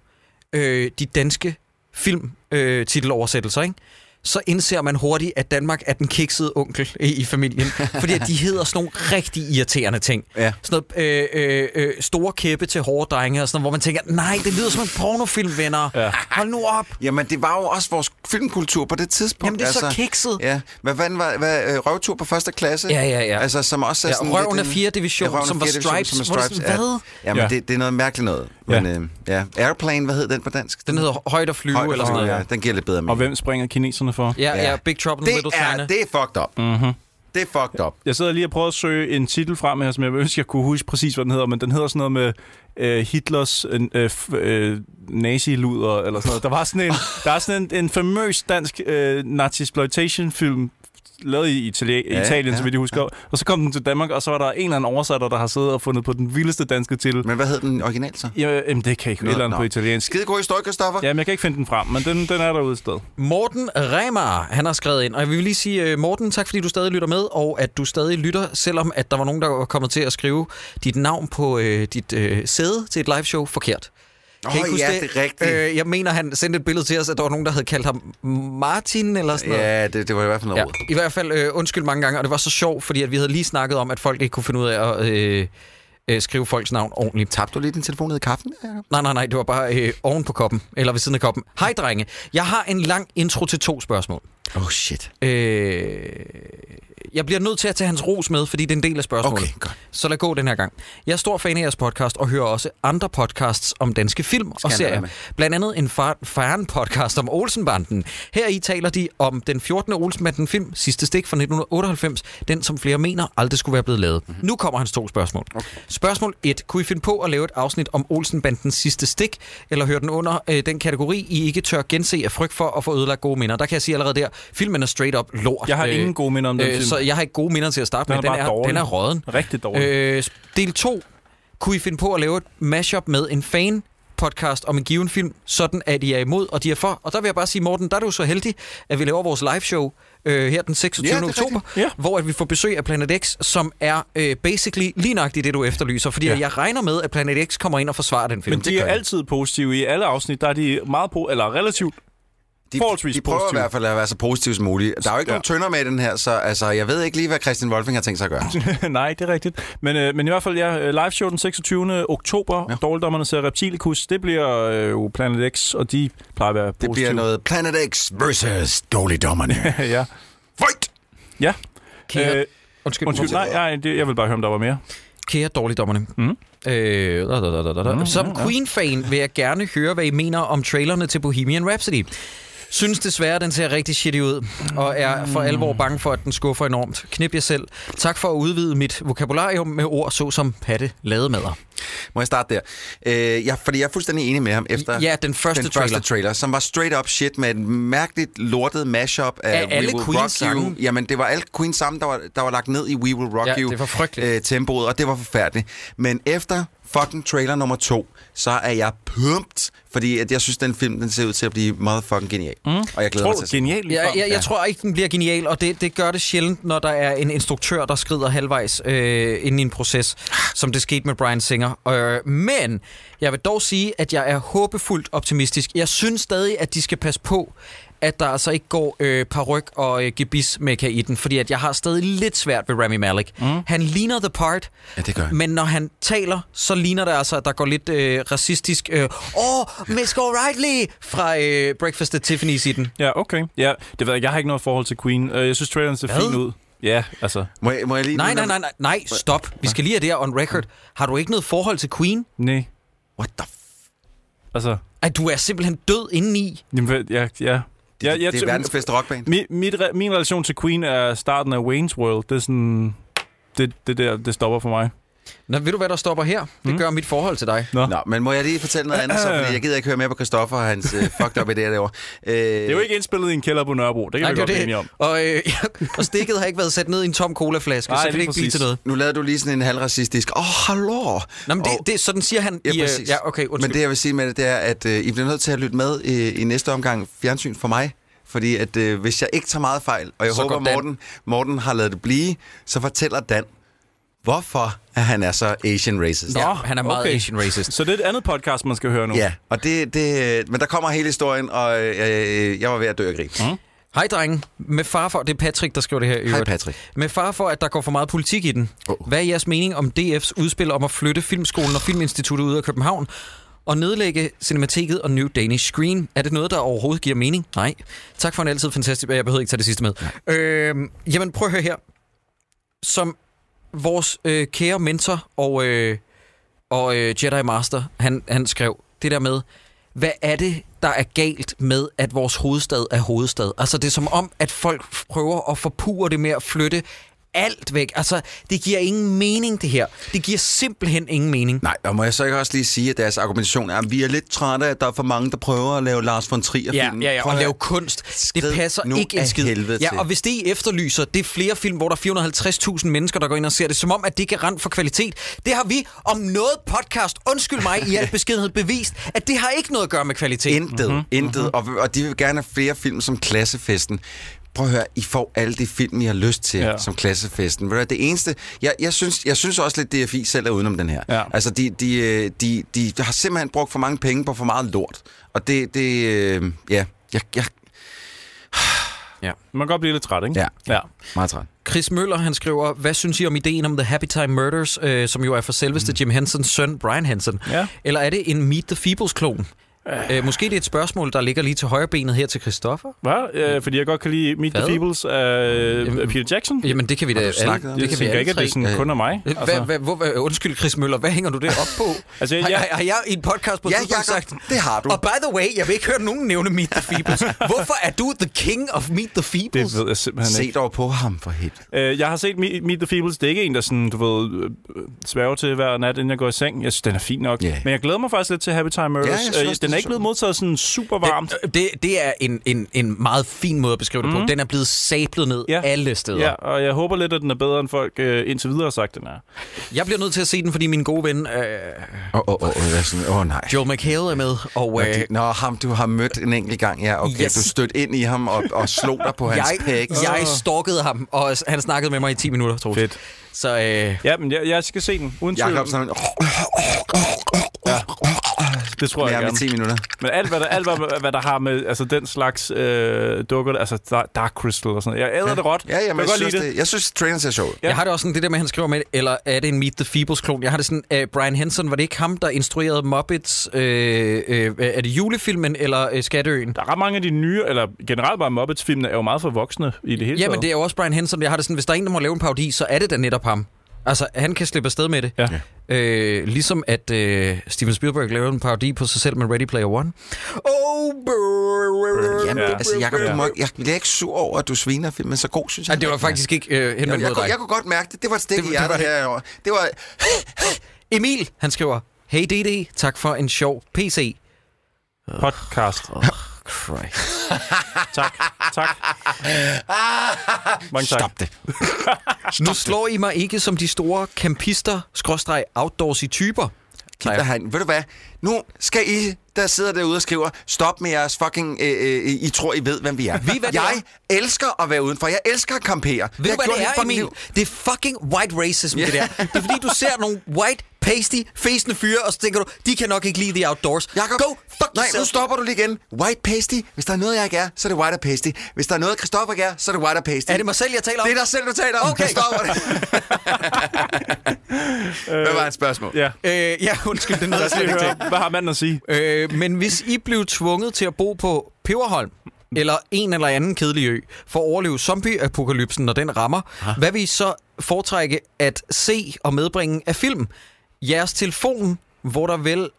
øh, de danske filmtiteloversættelser, øh, titeloversættelser, ikke? så indser man hurtigt, at Danmark er den kiksede onkel i, i [laughs] familien. Fordi at de hedder sådan nogle rigtig irriterende ting.
Ja.
Sådan noget, øh, øh, øh, store kæppe til hårde drenge, og sådan noget, hvor man tænker, nej, det lyder som en pornofilm, venner. Ja. Hold nu op.
Jamen, det var jo også vores filmkultur på det tidspunkt. altså.
Jamen, det er så kikset.
Ja. Hvad fanden var hvad, øh, røvtur på første klasse?
Ja, ja, ja.
Altså, som også er
Ja,
sådan...
Røven
lidt
er
en-
4. division,
Røven er
som var
fjerde division,
Stripes.
Som er Stripes.
Hvor er det sådan,
ja. Jamen,
Ja.
det, det er noget mærkeligt noget. Men, ja. Øh, ja. Airplane, hvad hed den på dansk?
Den hedder højt at flyve,
Højde
eller
for-
sådan noget.
Ja, den giver lidt bedre
Og
mening.
hvem springer kineserne for?
Ja, ja,
Ja.
ja Big Trouble in Little
Det er,
China.
det er fucked up.
Mm-hmm.
Det er fucked up.
Jeg sidder lige og prøver at søge en titel frem her, som jeg ønsker, jeg kunne huske præcis, hvad den hedder, men den hedder sådan noget med øh, Hitlers øh, f- øh, naziluder, eller sådan noget. Der, var sådan en, der er sådan en, en famøs dansk øh, nazisploitation-film, lavet i Itali-
Ja,
ja, Italien,
ja,
ja, så vidt jeg husker. Ja. Og så kom den til Danmark, og så var der en eller anden oversætter, der har siddet og fundet på den vildeste danske titel.
Men hvad hed den original så?
Ja, jamen, det kan jeg ikke. Et eller andet
nå.
på italiensk.
Skidegod historie, Kristoffer.
Jamen, jeg kan ikke finde den frem, men den, den er derude et sted.
Morten Remar, han har skrevet ind. Og jeg vil lige sige, øh, Morten, tak fordi du stadig lytter med, og at du stadig lytter, selvom at der var nogen, der var kommet til at skrive dit navn på øh, dit øh, sæde til et liveshow forkert.
Åh,
I ikke huske
ja, det er rigtigt.
Øh, jeg mener, han sendte et billede til os, at der var nogen, der havde kaldt ham Martin, eller sådan noget.
Ja, det, det var i hvert fald noget
Ja,
råd.
i hvert fald øh, undskyld mange gange, og det var så sjovt, fordi at vi havde lige snakket om, at folk ikke kunne finde ud af at øh, øh, skrive folks navn ordentligt.
Tabte du lige din telefon ned i kaffen? Jacob?
Nej, nej, nej, det var bare øh, oven på koppen, eller ved siden af koppen. Hej drenge, jeg har en lang intro til to spørgsmål.
Oh, shit.
Øh, jeg bliver nødt til at tage hans ros med, fordi det er en del af spørgsmålet.
Okay, godt.
Så lad gå den her gang. Jeg er stor fan af jeres podcast og hører også andre podcasts om danske film og
han da være
serier.
med?
Blandt andet en faren podcast om Olsenbanden. Her i taler de om den 14. Olsenbanden film, sidste stik fra 1998, den som flere mener aldrig skulle være blevet lavet. Mm-hmm. Nu kommer hans to spørgsmål. Okay. Spørgsmål 1. Kunne I finde på at lave et afsnit om Olsenbandens sidste stik, eller høre den under øh, den kategori, I ikke tør gense af frygt for at få ødelagt gode minder? Der kan jeg sige allerede der, filmen er straight up lort. Øh,
Jeg har ingen gode minder om den film.
Så jeg har ikke gode minder til at starte
Den
med.
er
Den
bare
er,
dårlig.
den er råden.
Rigtig dårlig.
Øh, del 2. Kunne I finde på at lave et mashup med en fan podcast om en given film, sådan at I er imod, og de er for. Og der vil jeg bare sige, Morten, der er du så heldig, at vi laver vores live show øh, her den 26.
Ja, det er
oktober,
Ja.
hvor at vi får besøg af Planet X, som er øh, basically lige nøjagtigt det, du efterlyser. Fordi
Ja.
ja. jeg regner med, at Planet X kommer ind og forsvarer den film.
Men de er altid positive. I alle afsnit, der er de meget på, eller relativt [laughs]
De,
Forholdsvis
de prøver
positive.
i hvert fald at være så positive som muligt. Der er jo ikke
Ja.
ja. nogen tønder med i den her, så altså, jeg ved ikke lige, hvad Christian Wolfing har tænkt sig at gøre.
Nej, [laughs] det er rigtigt. Men, øh, men i hvert fald, ja, øh, live show den 26. oktober. Ja.
Ja.
Dårligdommerne ser Reptilicus. Det bliver øh, jo Planet X, og de plejer at være
Det
positive.
bliver noget Planet X versus dårligdommerne.
[laughs] ja.
Fight!
ja.
Kære, øh,
Øh,
undskyld,
undskyld, nej, nej det, jeg vil bare høre, om der var mere.
Kære dårligdommerne.
Mhm.
Øh, da, da, da, da, da, da.
Mm,
Som
ja, ja.
Queen-fan vil jeg gerne høre, hvad I mener om trailerne til Bohemian Rhapsody. Synes desværre, at den ser rigtig shitty ud, og er
Mm.
for alvor bange for, at den skuffer enormt. Knip jer selv. Tak for at udvide mit vokabularium med ord såsom patte lademader.
Må jeg starte der? Øh, jeg, fordi jeg er fuldstændig enig med ham efter
Ja, den første
den
trailer.
første trailer, som var straight up shit med et mærkeligt lortet mashup af,
Af
We
alle
Will Rock
Queens sange.
You. Jamen, det var alle Queens sammen, der var, der var lagt ned i We Will Rock
Ja,
You.
det var frygteligt.
Øh, tempoet, og det var forfærdeligt. Men efter fucking trailer nummer to, så er jeg pumped, fordi at jeg synes, den film den ser ud til at blive motherfucking genial. Mm. Og jeg glæder
Tror
mig
du,
til at se den.
genialt
Jeg,
ligefrem?
jeg, jeg tror ikke, den bliver genial, og det, det gør det sjældent, når der er en instruktør, der skrider halvvejs øh, inden i en proces, som det skete med Brian Singer. Øh, men jeg vil dog sige, at jeg er håbefuldt optimistisk. Jeg synes stadig, at de skal passe på, at der altså ikke går øh, paryk og øh, gebis med i den, fordi at jeg har stadig lidt svært ved Rami Malek. Mm. Han ligner The Part,
Ja, det gør han.
men når han taler, så ligner det altså, at der går lidt øh, racistisk øh, Åh, Miss Go Rightly! fra øh, Breakfast at Tiffany's i den.
Ja, okay. Ja, det ved jeg, jeg har ikke noget forhold til Queen. Øh, Jeg synes, traileren ser
Hvad?
fin ud. Ja, altså.
Må jeg, må jeg lige...
Nej, nej, nej, nej, nej, stop. Vi skal lige have det her on record. Har du ikke noget forhold til Queen?
Nej.
What the f-
Altså.
At du er simpelthen død indeni.
Jamen, hvad- ja, ja.
Det,
Ja, jeg
det
tø-
er verdens bedste rockband.
Mi, mit, re- min relation til Queen er starten af Wayne's World. Det er sådan... Det, det der, det stopper for mig.
Nå, ved du, hvad der stopper her?
Mm.
Det gør mit forhold til dig.
Nå.
Nå, men må jeg lige fortælle noget andet, så, fordi jeg gider ikke høre mere på Christoffer og hans øh, fucked up idéer derovre. Øh,
Det er jo ikke indspillet i en kælder på Nørrebro. Det kan vi
det er
godt blive enige
det.
om.
Og, øh, [laughs] og stikket har ikke været sat ned i en tom colaflaske,
Nej,
så kan det
lige
ikke blive
præcis.
til noget.
Nu lavede du lige sådan en halvracistisk, åh, oh, hallo.
Nå, men det,
Og-
det, sådan siger han
Ja,
i... øh,
præcis.
ja, okay, undskyld.
Men det, jeg vil sige med det, det er, at øh, I bliver nødt til at lytte med øh, i næste omgang fjernsyn for mig. Fordi at øh, hvis jeg ikke tager meget fejl, og jeg
Så
så
går
håber,
Dan.
Morten, Morten har lavet det blive, så fortæller Dan, hvorfor at han er så Asian racist.
Ja, han er meget Asian racist.
Så det er et andet podcast, man skal høre nu.
Ja, og det, det, men der kommer hele historien, og øh, øh, jeg var ved at dø af grin. Mm.
Hej, drenge. Med far for... Det er Patrick, der skriver det her. i
Hej,
øvrigt.
Patrick.
Med far for, at der går for meget politik i den.
Åh.
Hvad er jeres mening om DF's udspil om at flytte Filmskolen og Filminstituttet ud af København og nedlægge Cinemateket og New Danish Screen? Er det noget, der overhovedet giver mening? Nej. Tak for en altid fantastisk... Jeg behøver ikke tage det sidste med. Øhm, jamen, prøv at høre her. Som vores øh, kære mentor og, øh, og øh, Jedi Master, han, han skrev det der med, hvad er det, der er galt med, at vores hovedstad er hovedstad? Altså, det er som om, at folk prøver at forpure det med at flytte alt væk. Altså, det giver ingen mening, det her. Det giver simpelthen ingen mening.
Nej, og må jeg så ikke også lige sige, at deres argumentation er, at vi er lidt trætte af, at der er for mange, der prøver at lave Lars von Trier
Ja,
filmen.
ja, ja,
Prøv
og
at
lave
høre.
kunst. Det
Skrid
passer
nu
ikke en
af
skid.
helvede
ja,
til.
og hvis det I efterlyser, det er flere film, hvor der er 450.000 mennesker, der går ind og ser det, som om, at det er garant for kvalitet. Det har vi om noget podcast, undskyld mig
[laughs]
i al beskedenhed, bevist, at det har ikke noget at gøre med kvalitet.
Intet, mm-hmm. intet.
Mhm.
Og, og de vil gerne have flere film som Klassefesten. Prøv at høre, I får alle de film, I har lyst til
Ja.
ja. som Klassefesten. Ved du hvad, det eneste... Jeg, jeg, synes, jeg synes også lidt, DFI selv er udenom den her.
Ja.
Altså, de, de, øh, de, de har simpelthen brugt for mange penge på for meget lort. Og det... det øh, ja, jeg, jeg
Man kan godt blive lidt træt, ikke?
Ja.
ja.
meget træt.
Chris Møller, han skriver, hvad synes I om ideen om The Happy Time Murders, øh, som jo er for
Mm.
selveste Jim Hensons søn, Brian Henson?
Ja.
Eller er det en Meet the Feebles-klon? Øh, måske det er et spørgsmål, der ligger lige til højre benet her til Christoffer?
Hvad? Øh, fordi jeg godt kan lide Meet
Mm. Hvad?
the Feebles af
Jamen,
af Peter Jackson. Jeg
Jamen, det kan vi da
du
alle.
snakket om
det
det?
kan vi
tænker
alle
ikke, at
tre.
det er sådan kun af mig.
Hva, altså. hva, hvor, hva, undskyld, Chris Møller, hvad hænger du det op på?
Altså, jeg-
har, har, har jeg i en podcast på et
Ja,
tidspunkt
Jacob,
sagt...
det har du.
Og by the way, jeg vil ikke høre nogen nævne Meet the
[laughs]
Feebles. Hvorfor er du the king of Meet the Feebles?
det ved jeg simpelthen
Se
ikke.
dog på ham for helt.
Øh, jeg har set Me- Meet the Feebles. Det er ikke en, der sådan, du ved, øh, sværger til hver nat, inden jeg går i seng. Jeg synes, den er fin nok.
Ja.
Men jeg glæder mig faktisk lidt til Happy Time Murders.
Ja, jeg synes
Øh,
også,
den den er ikke blevet modtaget sådan super varmt. Mhm.
Det, det, det er en, en, en meget fin måde at beskrive det på. Den er blevet sablet ned
Ja.
ja. alle steder.
Ja,
Ja.
og jeg håber lidt, at den er bedre, end folk øh, indtil videre har sagt, den er.
Jeg bliver nødt til at se den, fordi min gode ven øh,
Åh, åh, åh, jeg er sådan, åh nej.
Joel McHale er med, og øh,
Nå, de- Nå, ham du har mødt en enkelt gang, ja. Okay,
Yes.
yes. du stødte ind i ham og, og slog dig på hans
jeg,
pæk.
jeg stalkede ham, og s- han snakkede med mig i 10 minutter, tror jeg.
Fedt.
Så øh,
Ja, men jeg, jeg skal se den, uden tvivl.
Jakob sådan, åh,
Det tror jeg
jeg med
gerne.
10 minutter.
Men alt, hvad der, alt hvad, hvad der har med altså, den slags øh, dukker, altså Dark- Dark Crystal og sådan noget. Jeg æder det råt.
Ja,
jeg
jamen, jeg,
godt
synes,
lide
det. jeg synes, traileren ser sjov ud.
Ja.
ja. jeg har det også sådan, det der med, at han skriver med, eller er det en Meet the Feebles-klon? Jeg har det sådan, øh, Brian Henson, var det ikke ham, der instruerede Muppets? Øh, øh, er det julefilmen eller øh, Skatteøen?
Der er ret mange af de nye, eller generelt bare Muppets-filmene, er jo meget for voksne i det hele
Ja, men
taget.
det er jo også Brian Henson. Jeg har det sådan, hvis der er en, der må lave en parodi, så er det da netop ham. Altså, han kan slippe afsted med det.
Ja.
Øh, ligesom at øh, Steven Spielberg lavede en parodi på sig selv med Ready Player One. Oh, brrr,
Jamen,
Ja.
ja. altså, Jacob,
Ja.
du må, ikke- jeg bliver ikke sur over, at du sviner filmen, så god synes jeg.
Ej, det var faktisk ikke øh,
jeg,
henvendt
jeg,
mod
kunne,
dig.
jeg kunne godt mærke det. Det var et stik
Det-
i
det
hjertet
var det.
herovre. Det var...
Emil, han skriver, Hey DD, tak for en sjov PC.
Podcast.
Christ.
Tak. Tak. Mange tak.
[laughs] Stop det.
Nu slår I mig ikke som de store campister, skråstreg outdoorsy typer.
Kig dig herind. Ved du hvad? Nu skal I, der sidder derude og skriver, stop med jeres fucking... Øh, øh, I tror, I ved, hvem vi er.
ved, hvad det
jeg elsker at være udenfor. Jeg elsker at campere.
Ved du,
har
hvad
gjort
det
hele
er,
fucking
Emil?
liv.
Det er fucking white racism, yeah. det der. Det er fordi, du ser nogle white, pasty, fæsende fyre, og så tænker du, de kan nok ikke lide the outdoors.
Jakob,
Go fuck
nej, nu
yourself.
stopper du lige igen. White pasty. Hvis der er noget, jeg ikke er, så er det white og pasty. Hvis der er noget, Christoffer ikke er, så er det white og pasty.
Er det mig selv, jeg taler om?
Det er dig selv, du taler om.
Okay.
Stopper
[laughs]
det. Hvad var et spørgsmål?
Ja.
Øh, ja, undskyld, det
[laughs]
nåede jeg slet
Skal vi
ikke til.
høre, Hvad har manden at sige?
Øh, men hvis I blev tvunget til at bo på Peberholm, eller en eller anden kedelig ø, for at overleve zombieapokalypsen, når den rammer, ha? hvad vil I så foretrække at se og medbringe af film? Jeres telefon, hvor der vel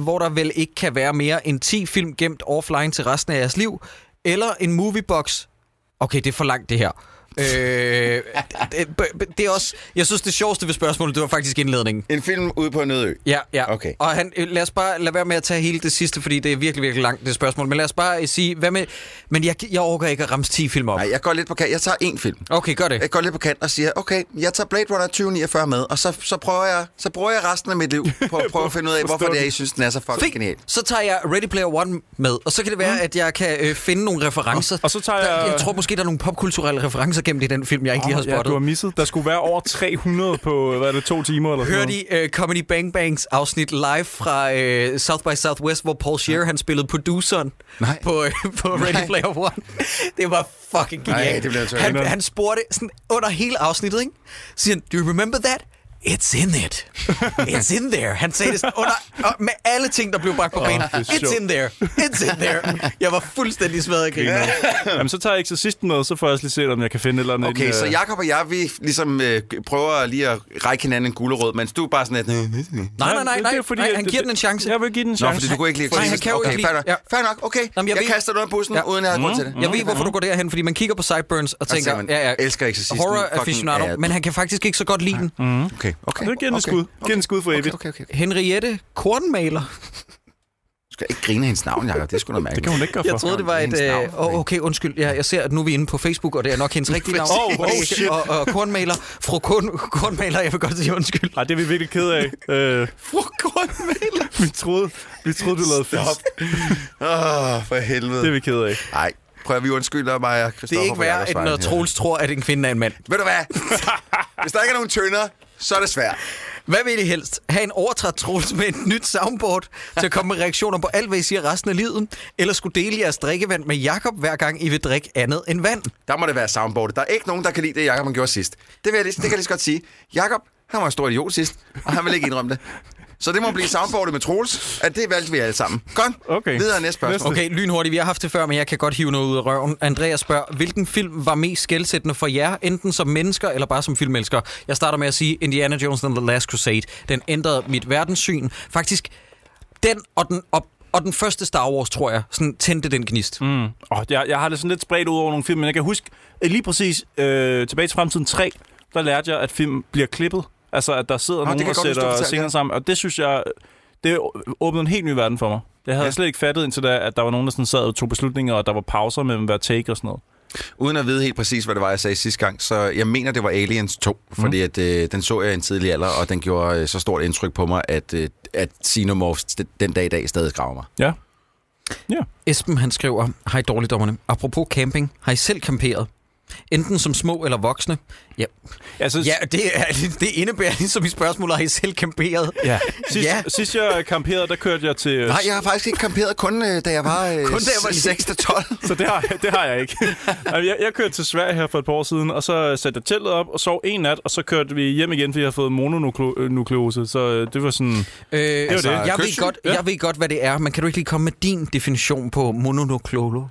hvor der vel ikke kan være mere end 10 film gemt offline til resten af jeres liv, eller en moviebox. Okay, det er for langt det her. Øh, det, det, det er også, jeg synes, det sjoveste ved spørgsmålet, det var faktisk indledningen.
En film ude på en øde ø.
Ja, ja.
Okay.
Og han, øh, lad os bare lade være med at tage hele det sidste, fordi det er virkelig, virkelig langt, det spørgsmål. Men lad os bare øh, sige, hvad med... Men jeg, jeg overgår ikke at ramse 10 film op.
Nej, Øh, jeg går lidt på kant. Jeg tager én film.
Okay, gør det.
Jeg går lidt på kant og siger, okay, jeg tager Blade Runner 2049 med, og så, så, prøver jeg, så bruger jeg resten af mit liv på at prøve at
[laughs]
finde ud af, hvorfor det er, I synes, den er så fucking genial.
Så tager jeg Ready Player One med, og så kan det være, mm. at jeg kan øh, finde nogle referencer.
og så tager
Der-
jeg-
Jeg tror måske, der er nogle popkulturelle referencer gennem i den film, jeg ikke lige har
ja,
spottet.
du har misset. Der skulle være over 300 på, hvad er det, to timer eller sådan
Hørte
noget.
I uh, Comedy Bang Bangs afsnit live fra uh, South by Southwest, hvor Paul Scheer han spillede produceren
Nej.
på, uh, på Ready Player One? Det var fucking genialt.
Nej, det blev altså jeg tør-
han, han spurgte sådan under hele afsnittet, ikke? Så siger han, do you remember that? It's in it. It's in there. Han sagde det sådan under, og med alle ting, der blev bragt på banen.
det er
It's
sjovt.
in there. It's in there. Jeg var fuldstændig smadret af grin.
Jamen, så tager jeg Exorcisten med, så får jeg også lige set, om jeg kan finde et eller andet. i den,
Okay, så
øh,
Jakob og jeg, vi ligesom øh, prøver lige at række hinanden en gulerod, mens du er bare sådan et...
Nej, nej, nej,
det-
nej.
det er fordi,
nej
at
han
det-
giver den en chance.
Jeg vil give den en
Nå,
chance.
fordi du kunne ikke lide
Nej, han kan jo
okay,
ikke lide-
Fair nok,
ja.
fair nok okay.
Jamen, jeg
jeg,
ved-
kaster dig under bussen,
Ja. Mhm.
uden jeg havde grund til det.
Jeg ved, hvorfor du går derhen, fordi man kigger på Sideburns og tænker,
tænker man, elsker Exorcisten,
horror
fucking
aficionado,
ad.
men han kan faktisk ikke så godt lide den. Mm.
Okay, okay.
Nu giver den et
okay,
skud. Giv
Okay,
den et skud for
okay,
evigt.
okay, okay, okay.
Henriette Kornmaler.
Du skal ikke grine af hendes navn, Jacob. Det skulle noget mærkeligt.
Det kan hun ikke gøre for.
Jeg troede, det var et...
hendes navn,
Øh, oh, okay, undskyld. Ja, jeg ser, at nu er vi inde på Facebook, og det er nok hendes rigtige navn.
Oh, oh, shit.
Og, og kornmaler. Fru korn, kornmaler, jeg vil godt sige undskyld.
Ej, det er vi virkelig ked af. Øh,
Fru kornmaler.
vi, troede, vi troede, du lavede fisk.
Åh, for helvede.
Det er vi ked af.
Nej, prøv at vi undskylder mig og
Det
Christoffer.
er ikke
på
værd,
Jacobs
at
vegne
når
her.
Troels tror, at en kvinde er en mand.
Ved du
[laughs]
hvad? Hvis der ikke er nogen tønder, så er det svært.
Hvad vil I helst? Ha' en overtræt Troels med et nyt soundboard til at komme med reaktioner på alt, hvad I siger resten af livet? Eller skulle dele jeres drikkevand med Jakob hver gang I vil drikke andet end vand?
Der må det være soundboardet. Der er ikke nogen, der kan lide det, Jacob han gjorde sidst. Det, vil jeg lige, det kan jeg lige så godt sige. Jacob, han var en stor idiot sidst, og han vil ikke indrømme det. Så det må blive soundboardet med Troels, at det valgte vi alle sammen. Godt,
Okay.
videre næste spørgsmål.
Okay, lynhurtigt. Vi har haft det før, men jeg kan godt hive noget ud af røven. Andreas spørger, hvilken film var mest skældsættende for jer, enten som mennesker eller bare som filmelsker? Jeg starter med at sige Indiana Jones and the Last Crusade. Den ændrede mit verdenssyn. Faktisk, den og den, og, og den første Star Wars, tror jeg, sådan tændte den gnist. Mm.
Oh, jeg, jeg har det sådan lidt spredt ud over nogle film, men jeg kan huske øh, lige præcis øh, tilbage til fremtiden 3, der lærte jeg, at film bliver klippet. Altså, at der sidder
det
nogen
kan
og
jeg godt huske, du
sætter
fortalte,
scener
ja.
sammen, og det synes jeg, det åbnede en helt ny verden for mig. Det havde
Ja.
ja. jeg slet ikke fattet indtil da, at der var nogen, der sådan sad og tog beslutninger, og der var pauser mellem hver take og sådan noget.
Uden at vide helt præcis, hvad det var, jeg sagde sidste gang, så jeg mener, det var Aliens 2,
Mm.
fordi at, øh, den så jeg i en tidlig alder, og den gjorde øh, så stort indtryk på mig, at, øh, at Xenomorphs den- den dag i dag stadig graver mig.
Ja.
Esben han skriver, hej dårligdommerne, apropos camping, har I selv camperet? Enten som små eller voksne? Ja,
Altså,
ja det, er, det indebærer ligesom i spørgsmålet, har I selv camperet?
ja. Sidst,
Ja.
ja. sidst jeg kamperede, der kørte jeg til...
Nej, jeg har faktisk ikke kamperet kun, øh, da jeg var, øh,
Kun da jeg var
6 til 12.
Så det har, jeg- det har jeg [laughs] ikke. Altså, jeg, jeg kørte til Sverige her for et par år siden, og så satte jeg teltet op og sov en nat, og så kørte vi hjem igen, fordi jeg havde fået mononukleose. Så øh, det var sådan...
Øh,
det.
Jeg, ved
Kystsyn?
godt,
Ja.
jeg ved godt, hvad det er, men kan du ikke lige komme med din definition på mononuklolo?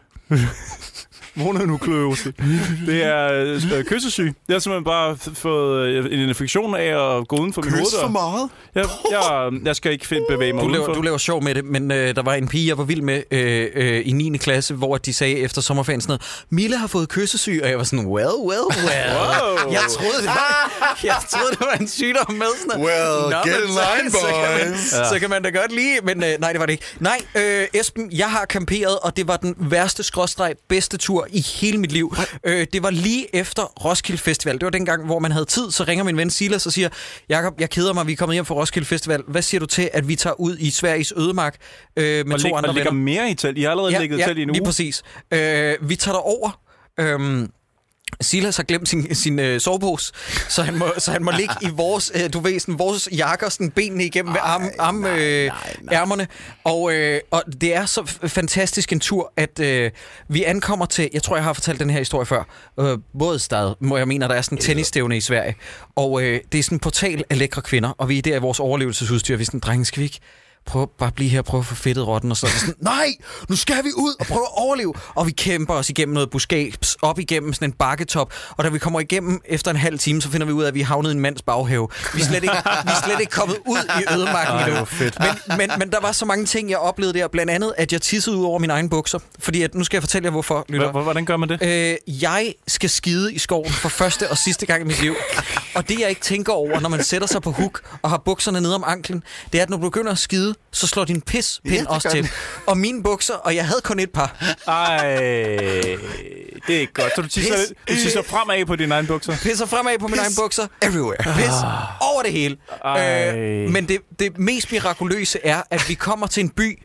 Mononukleose. [laughs] Det er øh, kyssesyg. Jeg har simpelthen bare f- fået øh, en infektion af at gå uden for min
Kys
hoveddør.
for meget.
Jeg, jeg, jeg skal ikke fedt bevæge mig
Du
udenfor.
laver, du laver sjov med det, men øh, der var en pige, jeg var vild med øh, øh, i 9. klasse, hvor de sagde efter sommerferien sådan noget, Mille har fået kyssesyg, og jeg var sådan, well, well, well.
Wow.
Jeg troede, det var, jeg troede, det var en sygdom med sådan noget.
Well, get
men så-
in line,
Så kan, man,
boys.
ja. så kan man da godt lide, men øh, nej, det var det ikke. Nej, øh, Esben, jeg har kamperet, og det var den værste skråstreg bedste tur i hele mit liv. Øh, det var lige efter Roskilde Festival. Det var dengang, hvor man havde tid, så ringer min ven Silas og siger, Jakob, jeg keder mig, vi er kommet hjem fra Roskilde Festival. Hvad siger du til, at vi tager ud i Sveriges ødemark øh, med
og
to
lig,
andre
og ligger
venner?
mere i telt. I har allerede ja, ligget i telt i en uge.
lige præcis. Øh, vi tager derover. Øhm, Silas har glemt sin, sin øh, sovepose, så han, må, så han må ligge i vores, øh, du ved, sådan, vores jakker, sådan benene igennem med arm, arm, nej, øh, ærmerne. Og, øh, og det er så f- fantastisk en tur, at øh, vi ankommer til, jeg tror, jeg har fortalt den her historie før, øh, Bådstad, må jeg mener, der er sådan en tennisstævne i Sverige. Og øh, det er sådan en portal af lækre kvinder, og vi er der i vores overlevelsesudstyr, vi er sådan, drenge, skal vi ikke prøv bare at blive her og prøve at få fedtet rotten, og så er vi sådan, nej, nu skal vi ud og prøve at overleve. Og vi kæmper os igennem noget buskabs, op igennem sådan en bakketop, og da vi kommer igennem efter en halv time, så finder vi ud af, at vi er havnet i en mands baghave. Vi er slet ikke, vi er slet ikke kommet ud i ødemarken endnu. Men, men, men, der var så mange ting, jeg oplevede der, blandt andet, at jeg tissede ud over mine egne bukser, fordi at, nu skal jeg fortælle jer, hvorfor, lytter.
H- hvordan gør
[laughs]
man det?
Øh, jeg skal skide i skoven for første og sidste gang i mit liv. Og det, jeg ikke tænker over, når man sætter sig på huk og har bukserne nede om anklen, det er, at når du begynder at skide, så slår din pispind
Ja,
ja,
det
også
gør
til.
den.
Og mine bukser, og jeg havde kun et par.
Ej, det er ikke godt. Så du tisser,
Pis.
du tisser fremad på dine egne bukser.
Pisser fremad på mine egne bukser.
Everywhere.
Pis over det hele.
Ej.
Øh, men det, det mest mirakuløse er, at vi kommer til en by,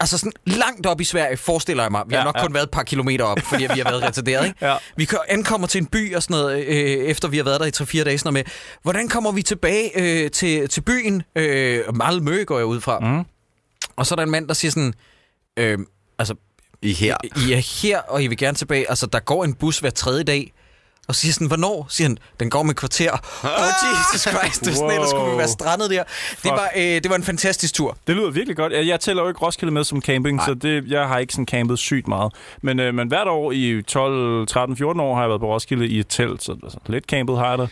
Altså sådan langt op i Sverige, forestiller jeg mig. Vi har
Ja,
nok
ja.
kun været et par kilometer op, fordi vi har været retarderet, ikke?
Ja.
Vi kø- ankommer til en by og sådan noget, øh, efter vi har været der i 3-4 dage, sådan noget med, hvordan kommer vi tilbage øh, til, til byen? Øh, Malmø går jeg ud fra. Mm. Og så er der en mand, der siger sådan, øh, altså,
I her.
I er her, og I vil gerne tilbage. Altså, der går en bus hver tredje dag. Og siger sådan, hvornår? Siger han, den går med et kvarter.
[laughs]
Åh, oh, Jesus Christ, det er sådan,
Wow.
ellers skulle vi være strandet der. Det var, øh, det var en fantastisk tur.
Det lyder virkelig godt. Jeg jeg tæller jo ikke Roskilde med som camping, Nej. så det, jeg har ikke sådan campet sygt meget. Men, øh, men hvert år i 12, 13, 14 år har jeg været på Roskilde i et telt, så altså, lidt campet har jeg da.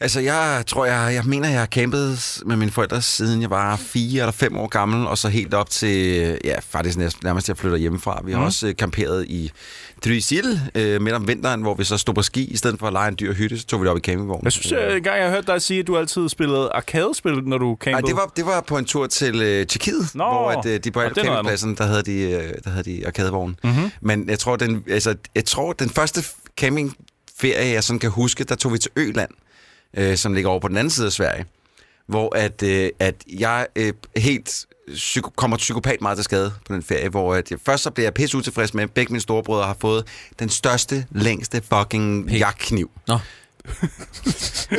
Altså, jeg tror, jeg, jeg mener, jeg har campet med mine forældre, siden jeg var fire eller fem år gammel, og så helt op til, ja, faktisk næsten, nærmest, jeg flytter hjemmefra. Vi har
Mhm.
mm. også øh, camperet i Trysil øh, midt om vinteren, hvor vi så stod på ski, i stedet for at lege en dyr hytte, så tog vi det op i campingvognen.
Jeg synes, øh, jeg, en gang jeg har hørt dig sige, at du altid spillede arcade-spil, når du campede.
Nej, det var, det var på en tur til øh, Tjekkiet,
Nå,
hvor at, øh, de på
og
alle
det er Mhm. noget
campingpladsen, der havde de, øh, der havde de arkadevognen. Mm-hmm. Men jeg tror, den, altså, jeg tror, den første f- campingferie, jeg sådan kan huske, der tog vi til Øland, øh, som ligger over på den anden side af Sverige, hvor at, øh, at jeg øh, helt psyko, kommer psykopat meget til skade på den ferie, hvor at jeg, først så bliver jeg pisse utilfreds med, at begge mine storebrødre har fået den største, længste fucking jagtkniv
Nå.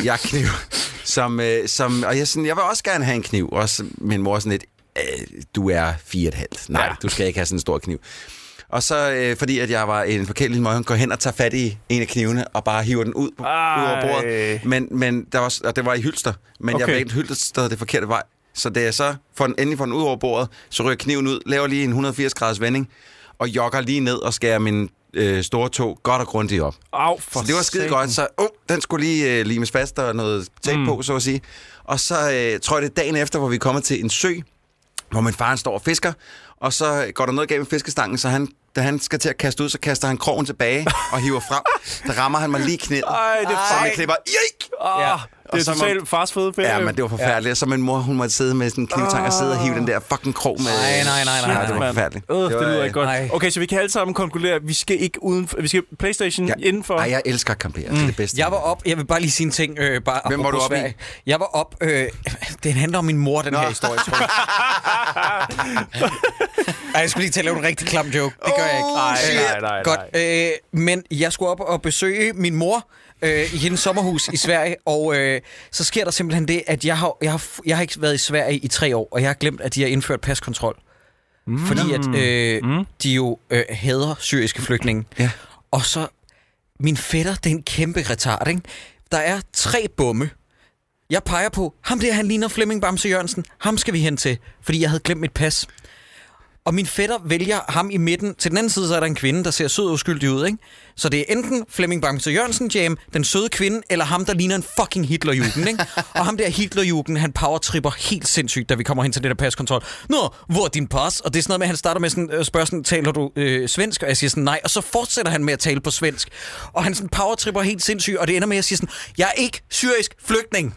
jagtkniv. Som, øh, som, og jeg, er sådan, jeg vil også gerne have en kniv. Også min mor er sådan lidt, øh, du er fire og et halvt. Nej, ja. du skal ikke have sådan en stor kniv. Og så, øh, fordi at jeg var en forkert lille møg, går hen og tager fat i en af knivene, og bare hiver den ud, på,
Ej.
ud over bordet. Men, men der var, s- og det var i hylster. Men okay.
Okay.
jeg valgte hylster det forkerte vej. Så da jeg så får den, endelig får den ud over bordet, så ryger kniven ud, laver lige en 180 graders vending, og jogger lige ned og skærer min øh, store tog godt og grundigt op.
Au, for
Så det var skide
satan.
godt, så oh, den skulle lige øh, limes fast og noget tape mm. på, så at sige. Og så øh, tror jeg, det er dagen efter, hvor vi kommer til en sø, hvor min far han står og fisker, og så går der noget galt med fiskestangen, så han, da han skal til at kaste ud, så kaster han krogen tilbage og hiver frem. Der rammer han mig lige i knæet,
Ej, det er
så
ej.
man klipper, Jik!
Ah, ja. Det er
så må-
totalt fars fede ferie.
Ja, men det var forfærdeligt. Og så min mor, hun måtte sidde med sådan en knivtang og sidde og hive den der fucking krog med.
Nej, nej, nej, nej,
Ja, det var
nej.
forfærdeligt.
Øh, det
var,
lyder ikke godt.
nej.
Okay, så vi kan alle sammen konkludere, at vi skal ikke uden vi skal PlayStation
Ja.
indenfor.
Ej, jeg elsker at campere. Mm. Det er det bedste.
Jeg var op, jeg vil bare lige sige en ting. Øh, bare
Hvem var
apropos
du oppe i?
Sverige. Jeg var op, øh, [laughs] den handler om min mor, den Nå.
Nå.
her historie, tror jeg. Ej, jeg skulle lige til at lave en rigtig klam joke. Det gør jeg ikke.
Oh,
Ej,
shit.
Nej, nej, nej.
Godt. Øh, men jeg skulle op og besøge min mor øh, i hendes sommerhus i Sverige, og øh, så sker der simpelthen det, at jeg har, jeg, har, jeg har ikke været i Sverige i tre år, og jeg har glemt, at de har indført paskontrol. Mm. Fordi at øh, mm. de jo øh, hader syriske flygtninge.
Ja.
Og så, min fætter, det er en kæmpe retard, ikke? Der er tre bomme. Jeg peger på, ham der, han ligner Flemming Bamse Jørgensen. Ham skal vi hen til, fordi jeg havde glemt mit pas. Og min fætter vælger ham i midten. Til den anden side, så er der en kvinde, der ser sød og uskyldig ud, ikke? Så det er enten Flemming Bamse Jørgensen jam, den søde kvinde, eller ham, der ligner en fucking Hitlerjugend, ikke? og ham der Hitlerjugend, han powertripper helt sindssygt, da vi kommer hen til det der paskontrol. Nå, hvor er din pas? Og det er sådan noget med, at han starter med sådan, øh, spørger sådan, taler du øh, svensk? Og jeg siger sådan, nej. Og så fortsætter han med at tale på svensk. Og han sådan powertripper helt sindssygt, og det ender med, at jeg siger sådan, jeg er ikke syrisk flygtning.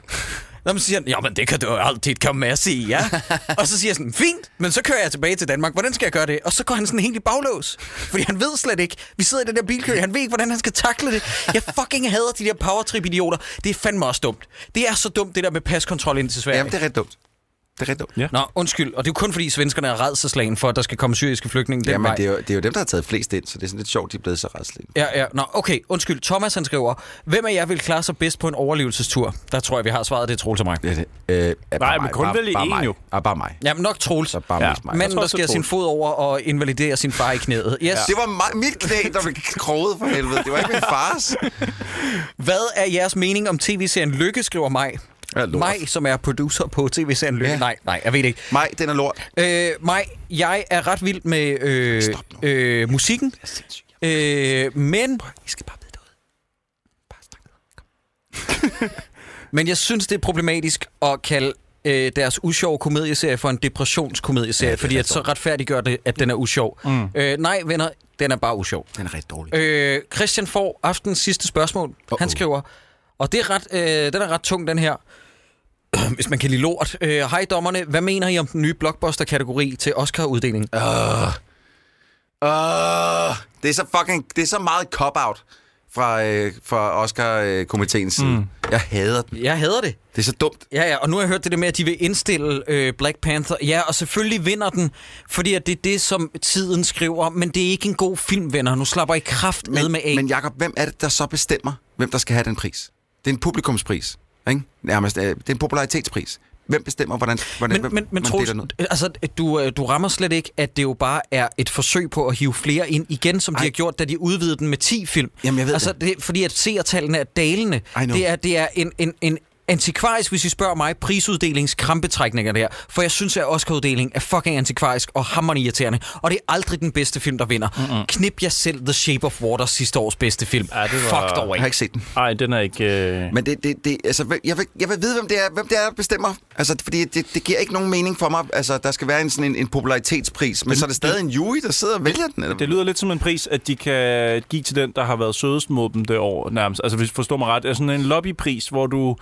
Nå, men så siger han, jamen det kan du jo altid komme med at sige,
[laughs]
ja. og så siger jeg sådan, fint, men så kører jeg tilbage til Danmark, hvordan skal jeg gøre det? Og så går han sådan helt i baglås, fordi han ved slet ikke, vi sidder i den der bilkø, han ved ikke, hvordan han skal takle det. Jeg fucking hader de der powertrip-idioter, det er fandme også dumt. Det er så dumt, det der med paskontrol ind til Sverige.
Jamen, det er ret dumt. Det er ret dumt.
Ja.
Ja.
Nå, undskyld, og det er jo kun fordi svenskerne er redselslagen for, at der skal komme syriske flygtninge den
Jamen,
vej.
det er, jo, det er jo dem, der har taget flest ind, så det er sådan lidt sjovt, de er blevet så retslige.
Ja, ja. Nå, okay, undskyld. Thomas han skriver, hvem af jer vil klare sig bedst på en overlevelsestur? Der tror jeg, vi har svaret, det er Troels og mig.
Det er det. Øh, ja, bare
men
mig,
kun
bare-
vel i
bare
én
mig.
jo.
Ja, bare mig.
Jamen nok Troels.
Så bare
Ja.
ja. mig.
Men-
Manden,
tror
der
også,
skærer
Troels.
sin fod over og invaliderer sin far i knæet. Yes. Ja.
Det var mig, mit knæ, der blev kroget for helvede. Det var ikke min fars.
Hvad er jeres mening om tv-serien Lykke, skriver mig?
Ja, lort.
Mig, som er producer på tv-serien Lykke. Ja.
Ja.
Nej, nej, jeg ved det ikke.
Mig, den er lort.
Øh, mig, jeg er ret vild med øh, øh, musikken. Øh, men... I skal bare vide det [laughs] Men jeg synes, det er problematisk at kalde øh, deres usjove komedieserie for en depressionskomedieserie, ja, fordi at så retfærdiggør det, at den er usjov. Mm. Øh, nej, venner, den er bare usjov.
Den er rigtig dårlig.
Øh, Christian får aftens sidste spørgsmål. Uh-oh. Han skriver, og det er ret, øh, den er ret tung, den her. [clears throat] Hvis man kan lide lort. Øh, Hej dommerne, hvad mener I om den nye blockbuster-kategori til Oscar-uddelingen? Uh.
Uh, det er så fucking, det er så meget cop-out fra, øh, fra Oscar-komiteens side. Mm. Jeg hader den.
Jeg hader det.
Det er så dumt.
Ja, ja, og nu har jeg hørt det der med, at de vil indstille øh, Black Panther. Ja, og selvfølgelig vinder den, fordi at det er det, som tiden skriver. Men det er ikke en god film, venner. Nu slapper I kraft med med af.
men Jacob, hvem er det, der så bestemmer, hvem der skal have den pris? Det er en publikumspris, ikke? Nærmest, øh, det er en popularitetspris. Hvem bestemmer, hvordan, hvordan
men,
hvem,
men, men
man
Troels,
deler noget?
altså, du, øh, du rammer slet ikke, at det jo bare er et forsøg på at hive flere ind igen, som Ej. de
Ej.
har gjort, da de udvidede den med 10 film.
Jamen, jeg ved
altså,
det.
det. er fordi at seertallene er dalende.
I know.
Det er, det er en, en, en antikvarisk, hvis I spørger mig, prisuddelingskrampetrækninger der. For jeg synes, at Oscar-uddelingen er fucking antikvarisk og hammerende irriterende. Og det er aldrig den bedste film, der vinder. Mm-hmm. Knip jer selv The Shape of Water sidste års bedste film.
Ja, det var-
Fuck dog
Jeg har
ikke.
ikke set den.
Nej, den er ikke... Øh...
Men det, det, det, altså, hvem- jeg, vil, jeg vil vide, hvem det er, hvem det er der bestemmer. Altså, fordi det, det giver ikke nogen mening for mig. Altså, der skal være en, sådan en, en popularitetspris, men så er det stadig en jury, der sidder og vælger den. Eller?
Det lyder lidt som en pris, at de kan give til den, der har været sødest mod dem det år nærmest. Altså, hvis du forstår mig ret. Det er sådan en lobbypris, hvor du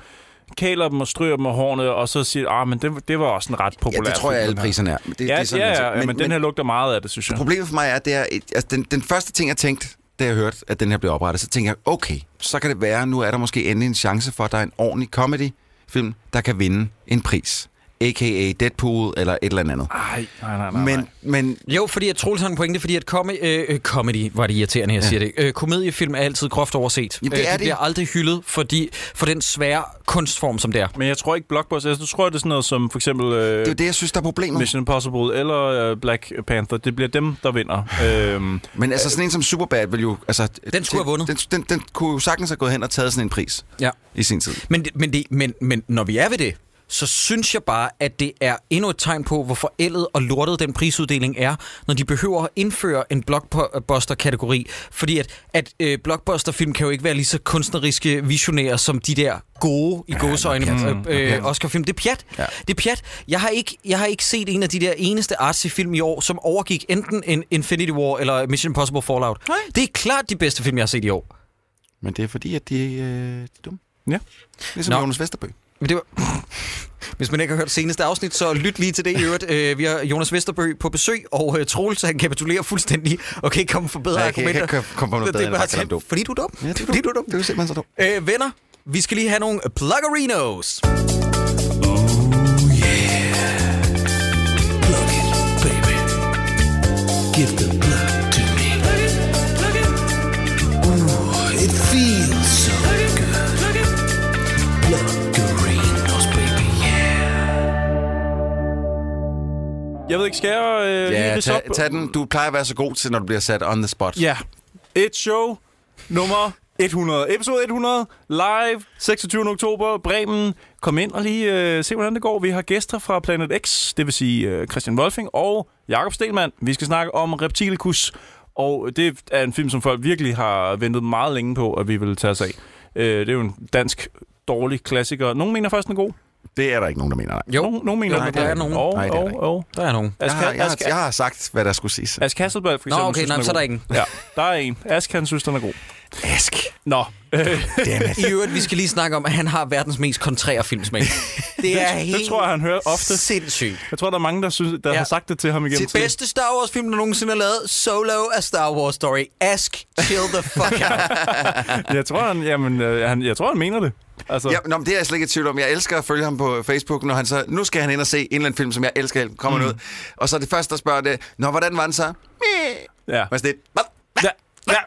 kæler dem og stryger dem af hårene, og så siger, ah, men det, det var også en ret populær
ja, det tror jeg,
film,
alle
den her."
priserne er. Men Det,
Ja,
det
det
er sådan,
ja,
altså.
ja, ja, men, men den her lugter meget af det, synes jeg.
Problemet for mig er, det er et- altså, den, den første ting, jeg tænkte, da jeg hørte, at den her blev oprettet, så tænkte jeg, okay, så kan det være, nu er der måske endelig en chance for, at der er en ordentlig comedy-film, der kan vinde en pris. A.k.a. Deadpool eller et eller andet.
Ej, nej, Ah, nej, nej. Men,
Men,
nej.
men
Jo, fordi at Troels har en pointe, fordi at comi- øh, øh, comedy, var det irriterende, jeg ja. siger det. Øh, komediefilm er altid groft overset.
Jamen, det
øh,
er
de
det.
bliver aldrig hyldet fordi, for den svære kunstform, som det er.
men jeg tror ikke Blockbuster. Jeg tror, det er sådan noget som for eksempel øh,
det er jo det, jeg synes, der er problemet.
Mission Impossible eller øh, Black Panther. Det bliver dem, der
[laughs]
vinder. øhm,
Men altså sådan en som Superbad vil jo... Altså,
Den skulle have vundet.
Den, den, den kunne jo sagtens have gået hen og taget sådan en pris
Ja.
i sin tid.
Men, det- men, det, men, men når vi er ved det, så synes jeg bare, at det er endnu et tegn på, hvor forældet og lortet den prisuddeling er, når de behøver at indføre en blockbuster-kategori. Fordi at, at øh, blockbuster-film kan jo ikke være lige så kunstneriske visionære som de der gode i ja, gåseøjne øh, øh, Oscar-film. Det er pjat. Ja. Det er pjat. Jeg har, ikke, jeg har ikke set en af de der eneste artsy-film i år, som overgik enten en Infinity War eller Mission Impossible Fallout. Nej. Det er klart de bedste film, jeg har set i år.
Men det er fordi, at de, øh, de er dumme. Ligesom
Nå.
Nå. Jonas Vesterbø.
Men det var... [laughs] Hvis man ikke har hørt seneste afsnit, så lyt lige til det i øvrigt. Øh, vi har Jonas Vesterbø på besøg, og øh, Troels, han kapitulerer fuldstændig [laughs] og kan ikke komme for bedre
Ja, jeg kan- jeg
argumenter.
kan ikke komme på noget
Det- det
bedre,
er
end
bare
at bare kalde ham
sådan,
dum.
Fordi du er dum.
Ja,
fordi du er dum.
Det er jo simpelthen så dumt.
Øh, venner, vi skal lige have nogle pluggerinos.
Jeg ved ikke, skal jeg øh, yeah, lige
Ja,
ridse op?
tag, tag den. Du plejer at være så god til, når du bliver sat on the spot.
Ja. Et show nummer 100. Episode 100. Live 26. oktober. Bremen. Kom ind og lige øh, se, hvordan det går. Vi har gæster fra Planet X, det vil sige øh, Christian Wolfing og Jakob Stelmann. Vi skal snakke om Reptilicus. Og det er en film, som folk virkelig har ventet meget længe på, at vi vil tage os af. Øh, det er jo en dansk dårlig klassiker. Nogen mener først, den er god.
Det er der ikke nogen, der mener. Nej.
Jo,
Nogen, nogen mener,
nej,
den
der er
dårlig.
nogen.
Og,
Nej, det er der ikke.
og, og.
der er nogen.
Ask,
Jeg har, jeg, har,
Ask,
jeg har sagt, hvad der skulle siges.
Ask Hasselblad for
Nå,
eksempel
okay,
synes,
nej,
den
så er der
god.
ingen.
Ja, der er en. Ask, han synes, den er god.
Ask.
Nå, øh,
I øvrigt, vi skal lige snakke om, at han har verdens mest kontrære
[laughs]
filmsmag. Det er helt
det tror jeg, han hører ofte.
sindssygt.
Jeg tror, der er mange, der, synes, der
Ja.
ja. har sagt det til ham igennem
Sit bedste Star Wars film, der nogensinde er lavet, Solo af Star Wars Story. Ask, chill the
[laughs]
fuck out.
tiden. Jeg tror, han, jamen, øh, han, jeg tror, han mener det. Altså,
Ja, nå, men det er jeg slet ikke i tvivl om. Jeg elsker at følge ham på Facebook, når han så... Nu skal han ind og se en eller anden film, som jeg elsker. Kommer mm. ud. Og så er det første, der spørger det... Nå, hvordan var den så?
ja.
Hvad er det? Hvad?
ja. ja.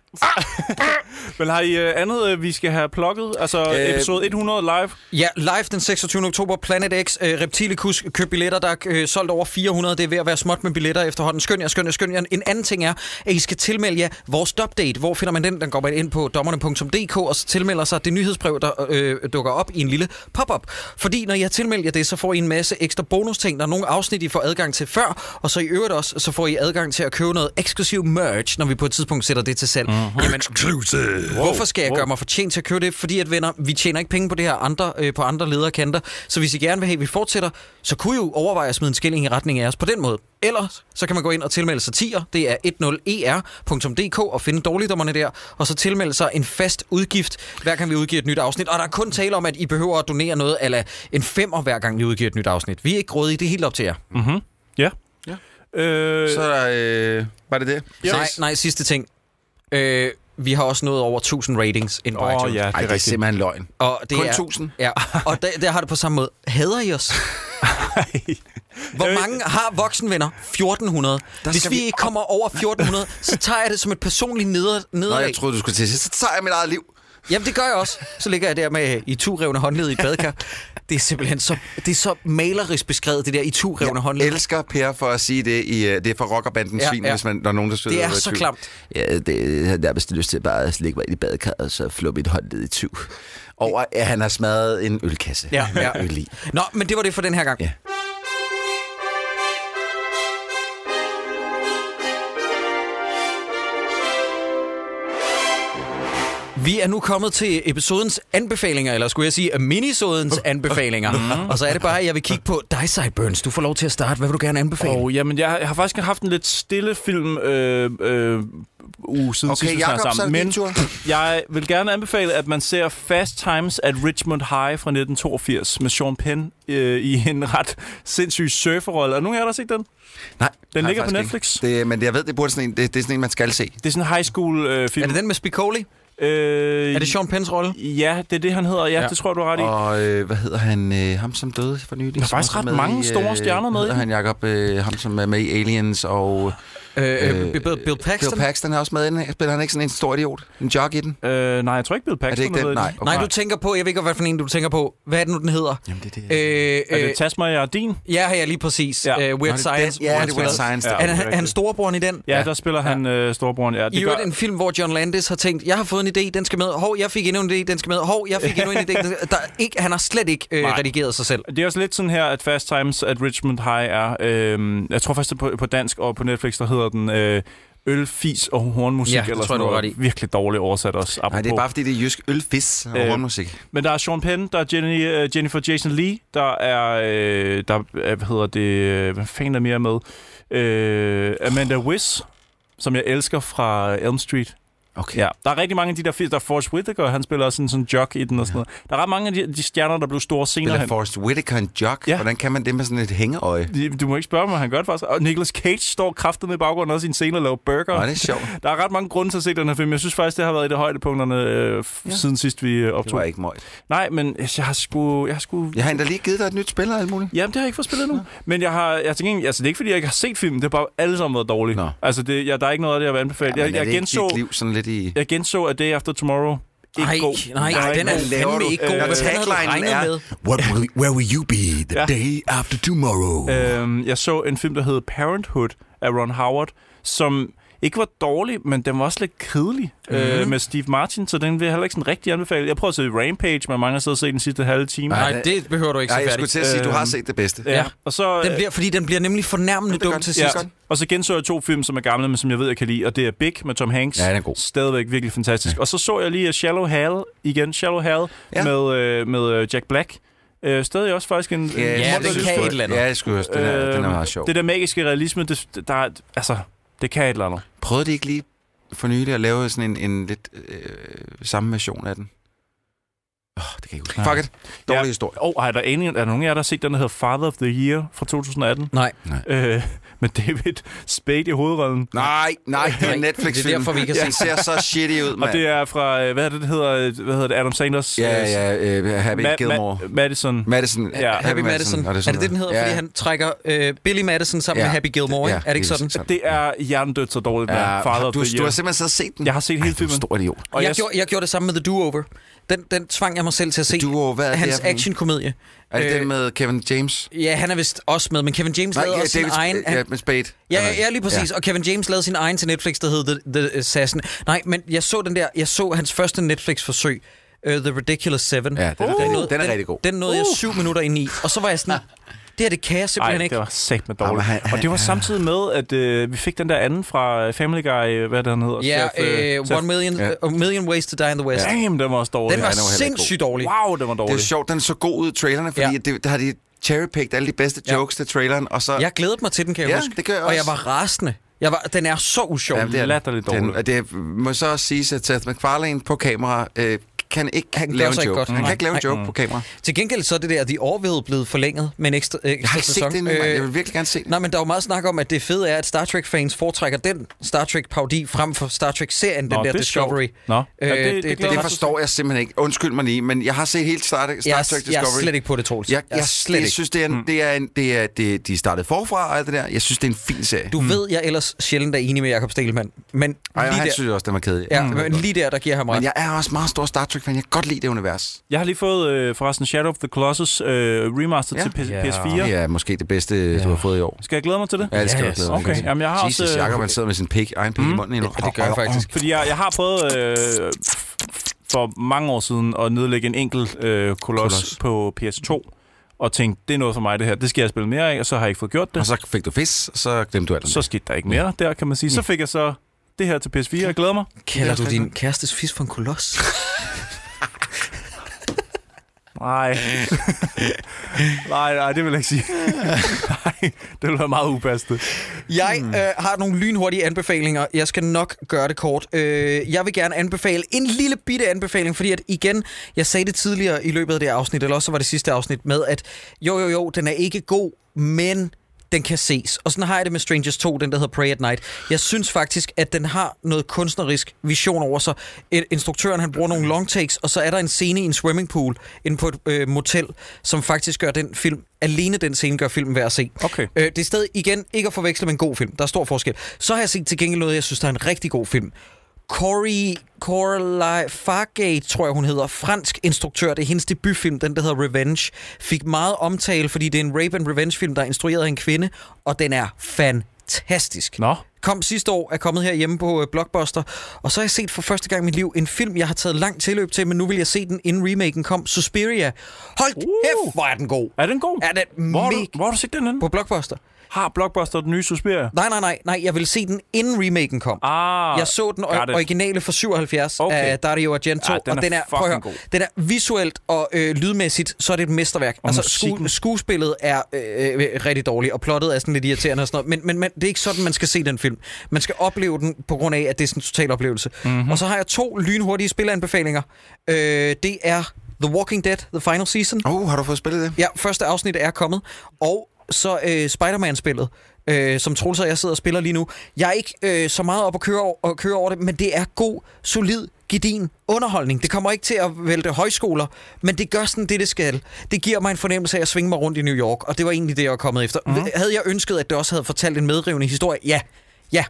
[laughs] Men har I øh, andet, øh, vi skal have plukket? Altså øh, episode 100 live?
ja, live den 26. oktober, Planet X, øh, Reptilicus, køb billetter, der er øh, solgt over 400. Det er ved at være småt med billetter efterhånden. Skøn jer, skøn jer, skøn jer. En anden ting er, at I skal tilmelde jer vores update. Hvor finder man den? Den går man ind på dommerne.dk, og så tilmelder sig det nyhedsbrev, der øh, dukker op i en lille pop-up. Fordi når I har tilmeldt jer det, så får I en masse ekstra bonus ting. Der er nogle afsnit, I får adgang til før, og så i øvrigt også, så får I adgang til at købe noget eksklusiv merch, når vi på et tidspunkt sætter det til salg. Mm-hmm. Jamen, Hvorfor skal jeg
wow.
gøre mig fortjent til at købe det? Fordi at venner, vi tjener ikke penge på det her andre, øh, på andre lederkanter. Så hvis I gerne vil have, at vi fortsætter, så kunne I jo overveje at smide en skilling i retning af os på den måde. Ellers så kan man gå ind og tilmelde sig 10'er. Det er E 10er.dk og finde dårligdommerne der. Og så tilmelde sig en fast udgift, hver gang vi udgiver et nyt afsnit. Og der er kun tale om, at I behøver at donere noget eller en femmer, hver gang vi udgiver et nyt afsnit. Vi er ikke grådige, det er helt op til jer.
Ja. ja. Øh,
Så
så,
er der... Øh, var det det?
Nej, nej, sidste ting. Øh, vi har også nået over 1000 ratings ind på
Åh,
iTunes.
ja, det er
Ej, det er
rigtigt.
simpelthen løgn.
Og det
Kun
er,
1000?
Ja, [laughs] og der, der har det på samme måde. Hader I [laughs] os? Hvor mange har voksenvenner? 1400. Hvis
skal
vi
vi
ikke kommer over 1400, så tager jeg det som et personligt neder,
Nå,
nederlag.
jeg troede, du skulle til. Så tager jeg mit eget liv.
Jamen, det gør jeg også. Så ligger jeg der med øh, i turevne håndled i et [laughs] badkar. Det er simpelthen så, det er så malerisk beskrevet, det der i turevne ja, håndled.
Jeg elsker Per for at sige det. I, øh, det er for rockerbanden
Ja,
Svin,
ja.
hvis man, der er nogen, der synes,
Det er
jeg
så
i tvivl.
klamt.
Ja, det har nærmest lyst til bare at ligge mig ind i badekarret og så flå mit håndled i tyv.
Over, at han har smadret en ølkasse.
Ja,
Med
ja.
Øl i.
Nå, men det var det for den her gang.
Ja.
Vi er nu kommet til episodens anbefalinger, eller skulle jeg sige [laughs] minisodens anbefalinger. Og så er det bare, at jeg vil kigge på dig, Sideburns. Du får lov til at starte. Hvad vil du gerne anbefale?
og, jamen, jeg, jeg har faktisk haft en lidt stille film øh, øh, uge siden sidst,
Okay,
vi snakkede
Jacob, så er
sammen.
det
Men
din tur.
Jeg vil gerne anbefale, at man ser Fast Times at Richmond High fra 1982 med Sean Penn øh, i en ret sindssyg surferrolle. Er nogen af jer, der har set den?
Nej,
Den
har jeg
ligger på
faktisk
Netflix.
Ikke. Det, men jeg ved, det, burde sådan en, det, det er sådan en, man skal se.
Det er sådan en high school øh, film.
Er det den med Spicoli?
Øh,
Er det Sean Penns rolle?
Ja, det er det, han hedder. Ja, ja. det tror jeg, du har ret i.
Og øh, hvad hedder han? Øh, ham, som døde for nylig. Der
er faktisk ret mange store stjerner med i
øh, Hedder han, Jacob? Øh, ham, som er med i Aliens og...
Øh,
øh,
øh, Bill, Bill Paxton?
Bill Paxton er også med i den. Spiller han ikke sådan en stor idiot? En jog i den?
Øh, nej, jeg tror ikke, Bill Paxton
Er det ikke
med
den?
i
Nej.
Nej, du tænker på, jeg ved ikke, hvad for en du tænker på. Hvad er det nu, den hedder? Jamen, det er det.
Er
Øh, øh,
det Tasma Jardin?
ja, ja, lige præcis.
Ja.
Ja. Øh, Weird
Nå, det er
Science.
den. Ja,
hvor han
det er
spiller-
Weird Science.
Ja.
Ja.
Er han,
det er
er han
rigtigt.
storebroren i den?
Ja, der spiller han øh, storebroren. Ja,
I
det gør...
øvrigt en film, hvor John Landis har tænkt, jeg har fået en idé, den skal med. Hov, jeg fik endnu en idé, den skal med. Hov, jeg fik endnu en idé. Den skal... Der er ikke, han har slet ikke øh,
Nej.
redigeret sig selv.
Det er også lidt sådan her, at Fast Times at Richmond High er... Øh, jeg tror faktisk, det er på, på dansk og på Netflix, der hedder den... Øh, øl, fis og hornmusik.
Ja, det
eller
tror jeg,
sådan
du har
noget.
ret i.
Virkelig dårligt oversat også.
Nej, det er bare fordi, det er jysk ølfis og
Øh,
øh, musik.
Men der er Sean Penn, der er Jenny, øh, Jennifer Jason Lee, der er, øh, der er, hvad hedder det, øh, hvad fanden er mere med? Øh, Amanda Wiss, som jeg elsker fra Elm Street.
Okay.
Ja, der er rigtig mange af de der film, der er Forrest Whitaker, han spiller også sådan sådan jock i den og sådan noget. Der er ret mange af de, de stjerner, der blev store senere
Eller
hen.
Forrest Whitaker en jock.
Ja.
Ja. Hvordan kan man det med sådan et hængeøje?
De- Du må ikke spørge mig, han gør det faktisk. Og Nicolas Cage står kraftet med i baggrunden også i en scene og laver burger.
Nå, det er sjovt.
Der er ret mange grunde til at se den her film. Jeg synes faktisk, det har været et af højdepunkterne øh, ja. siden sidst, vi øh,
Det
optog.
var ikke møjt.
Nej, men jeg har sgu... Jeg har sgu...
Jeg har endda lige givet dig et nyt spil og alt muligt.
Jamen, det har jeg ikke fået spillet nu. Men jeg har, jeg tænker, altså, det er ikke, fordi jeg ikke har set filmen. Det har bare alle sammen været dårligt.
Nå.
Altså, det, jeg, der er ikke noget af det, jeg vil anbefale.
Men
jeg,
er
jeg,
det
genså,
ikke dit liv sådan lidt i...
jeg genså A Day After Tomorrow. Ikke
Nej,
god.
nej,
Den er
den
ikke
er
god.
fandme ikke god.
Øh,
Hvad fanden havde du
taglinen
regnet
er-
med?
What will, where will you be the
Ja.
day after tomorrow?
Øhm, jeg så en film, der hed Parenthood af Ron Howard, som ikke var dårlig, men den var også lidt kedelig mm.
Mhm.
øh, med Steve Martin, så den vil jeg heller ikke sådan rigtig anbefale. Jeg prøver at se Rampage, men mange har siddet og set den sidste halve time.
Nej,
det-
det behøver du ikke
Nej,
se
jeg skulle
færdig.
til at sige, at du har
Øhm,
set det bedste.
Ja,
Ja.
og så...
Den bliver, fordi den bliver nemlig fornærmende
det er
dum
godt.
til
Det er
sidst.
godt.
Og så genså jeg to film, som er gamle, men som jeg ved, jeg kan lide, og det er Big med Tom Hanks.
Ja, den er god.
Stadigvæk virkelig fantastisk. Og så så jeg lige øh, Shallow Hal igen, Shallow Hal
Ja.
med, øh, med øh, Jack Black. Øh, stadig også faktisk en... en
Ja,
smuk
den
film.
kan et eller andet.
Ja, jeg skulle også. Den er, den er meget sjov.
Det der magiske realisme, det, der er, altså, det kan et eller andet.
Prøvede de ikke lige for nylig at lave sådan en, en lidt øh, samme version af den? Åh, oh, det kan jeg ikke huske.
Nej.
Fuck it. Dårlig
Ja.
historie.
Og oh, er der enig, er der nogen af jer, der har set den, der hedder Father of the Year fra 2018?
Nej,
Øh, [laughs] med David Spade i hovedrollen.
Nej, nej, det er en
Nej,
Netflix-film.
det er derfor, vi ikke har
Den ser så shitty ud,
Og
mand.
det er fra, øh, hvad er det, det hedder, øh, hvad hedder det, Adam Sanders?
Ja,
øh,
ja, øh, Happy
Ma-
Gilmore.
Ma- Madison.
Madison.
Ja.
Happy Madison.
og
Er det det, den hedder?
Ja.
Fordi han trækker øh, Billy Madison sammen
Ja.
med Happy Gilmore. ikke? Er det ikke sådan?
det er hjernedødt så dårligt, med
Ja,
Father
har-
of
du,
the Year.
du har simpelthen så set den.
Jeg har set hele
Ej, du er en
filmen.
stor idiot.
Og
jeg,
jeg-
gjorde, jeg gjorde det samme med The Do-Over. Den, den tvang jeg mig selv til at se.
Duo, hvad er det
Hans
her for en?
actionkomedie.
Er det
Øh,
den med Kevin James?
Ja, han er vist også med, men Kevin James
Nej,
lavede
ja,
også sin
David,
egen... Han,
ja, med Spade.
Ja,
Eller-
ja, ja, lige præcis. Ja. Og Kevin James lavede sin egen til Netflix, der hed The, The Assassin. Nej, men jeg så den der, jeg så hans første Netflix-forsøg, uh, The Ridiculous Seven.
Ja, den er rigtig- den er
den,
rigtig god. Uh.
Den nåede jeg syv minutter ind i, og så var jeg sådan, det her, det kan jeg
Ej,
simpelthen ikke.
det var sæt med
Jamen,
dårligt.
han-
og det var samtidig med, at øh, vi fik den der anden fra Family Guy, øh, hvad er det, han hedder?
Ja, øh,
Seth-
One million,
Ja.
ja. uh, million Ways to Die in the West. Ja.
Damn, den var også dårlig.
Den
var
var
heller ikke
sindssygt dårlig.
Wow, den var
Det er
dårlig.
jo sjovt, den så god ud i trailerne, fordi
Ja.
ja. det, der har de cherrypicked alle de bedste
Ja.
jokes til traileren, og så...
Jeg glædede mig til den, kan jeg
Ja,
huske.
det gør jeg
og jeg
også.
var rasende. Jeg var, den er så usjov.
Jamen, det er den.
latterligt
Den-
dårlig.
og Det må så også siges, at Seth MacFarlane på kamera øh, kan ikke
Han
han
gør
lave
sig
en
ikke
joke.
godt.
Han
Nej.
kan ikke lave en
Nej.
joke på kamera.
Til gengæld så er det der, The Orville blevet forlænget med en ekstra, øh,
Jeg
ekstra
har ikke
sæson.
set det endnu, mand. Jeg vil virkelig gerne se det.
Nej, men der er jo meget snak om, at det fede er, at Star Trek-fans foretrækker den Star Trek-parodi frem for Star Trek-serien, den
Nå,
der
det er
Discovery. Øh,
sjovt. Nå. Ja, det- det glæder
Det
jeg
forstår jeg simpelthen ikke. Undskyld mig lige, men jeg har set helt Star, Star
jeg,
Trek
er- jeg
Discovery.
er slet ikke på det, Troels.
Jeg, jeg,
er
jeg,
slet ikke. Hmm.
synes, det er, en, det er, en, det er det, de startede forfra og alt det der. Jeg synes, det er en fin serie.
Du ved, jeg ellers sjældent er enig med Jakob Stelmann. Men
Mm. Ej, og
lige,
han
der,
synes også, den var kedelig.
ja,
Mm.
men lige der, der giver jeg ham ret.
Men jeg er også meget stor Star Trek-fan. Jeg kan godt lide det univers.
Jeg har lige fået øh, forresten Shadow of the Colossus øh, remaster
Ja.
til P-
Ja.
PS4.
Det er måske det bedste, ja. du har fået i år.
Skal jeg glæde mig til det?
Ja, det skal
Yes.
yes. du glæde dig
Okay,
til.
jamen jeg har
Jesus,
også... øh, Hmm?
Jacob, han sidder med sin pik, egen pik mm. i munden endnu.
Ja, det gør jeg faktisk.
Fordi jeg, jeg har prøvet øh, for mange år siden at nedlægge en enkelt øh, kolos,
Kolos.
på PS2, og tænkte, det er noget for mig det her, det skal jeg spille mere af, og så har jeg ikke fået gjort
Og
det.
så fik du fis, og så glemte du alt. om
Så
det.
skete der ikke mere der, kan man sige.
Mm.
Så fik jeg så det her til PS4, jeg glæder mig.
Kalder du din kærestes fisk for en koloss?
Nej. [laughs] nej, nej, det vil jeg ikke
[laughs]
sige. nej, det ville være meget upassende.
Jeg øh, har nogle lynhurtige anbefalinger. Jeg skal nok gøre det kort. Øh, jeg vil gerne anbefale en lille bitte anbefaling, fordi at igen, jeg sagde det tidligere i løbet af det her afsnit, eller også så var det sidste afsnit med, at jo, jo, jo, den er ikke god, men den kan ses. Og sådan har jeg det med Strangers 2, den der hedder Pray at Night. Jeg synes faktisk, at den har noget kunstnerisk vision over sig. Et- Instruktøren, han bruger nogle long takes, og så er der en scene i en swimmingpool inde på et øh, motel, som faktisk gør den film, alene den scene gør filmen værd at se.
Okay.
Øh, det er stadig igen ikke at forveksle med en god film. Der er stor forskel. Så har jeg set til gengæld noget, jeg synes, der er en rigtig god film. Corey Coralie Fargate, tror jeg hun hedder, fransk instruktør, det er hendes debutfilm, den der hedder Revenge, fik meget omtale, fordi det er en rape and revenge film, der er instrueret af en kvinde, og den er fantastisk.
Nå.
Kom sidste år, er kommet herhjemme på øh, Blockbuster, og så har jeg set for første gang i mit liv en film, jeg har taget langt tilløb til, men nu vil jeg se den, inden remaken kom, Suspiria. Hold uh. kæft, hvor er den god.
Er den god?
Er den
hvor, har
mega-
du, hvor har du set den henne?
På Blockbuster.
Har Blockbuster den nye Suspiria?
Nej, nej, nej, nej. Jeg ville se den, inden remaken kom.
Ah,
Jeg så den
got
o-
it.
originale fra 77
Okay.
okay. af Dario Argento,
Ah, den er
og den er, prøv at høre,
fucking god.
den er visuelt og øh, lydmæssigt, så er det et mesterværk.
Og
altså,
musikken.
sku- øh, skuespillet er øh, øh, rigtig dårligt, og plottet er sådan lidt irriterende og sådan noget, men, men, men det er ikke sådan, man skal se den film. film. Man skal opleve den på grund af, at det er sådan en total oplevelse.
Mhm.
Mm-hmm. Og så har jeg to lynhurtige spilleanbefalinger. Øh, det er The Walking Dead, The Final Season.
Oh, har du fået spillet det?
Ja, første afsnit er kommet. Og så øh, Spider-Man-spillet, øh, som Troels og jeg sidder og spiller lige nu. Jeg er ikke øh, så meget op at køre, over, at køre over det, men det er god, solid, gedin underholdning. Det kommer ikke til at vælte højskoler, men det gør sådan det, det skal. Det giver mig en fornemmelse af at svinge mig rundt i New York, og det var egentlig det, jeg var kommet efter. Mm. Havde jeg ønsket, at det også havde fortalt en medrivende historie? Ja, ja.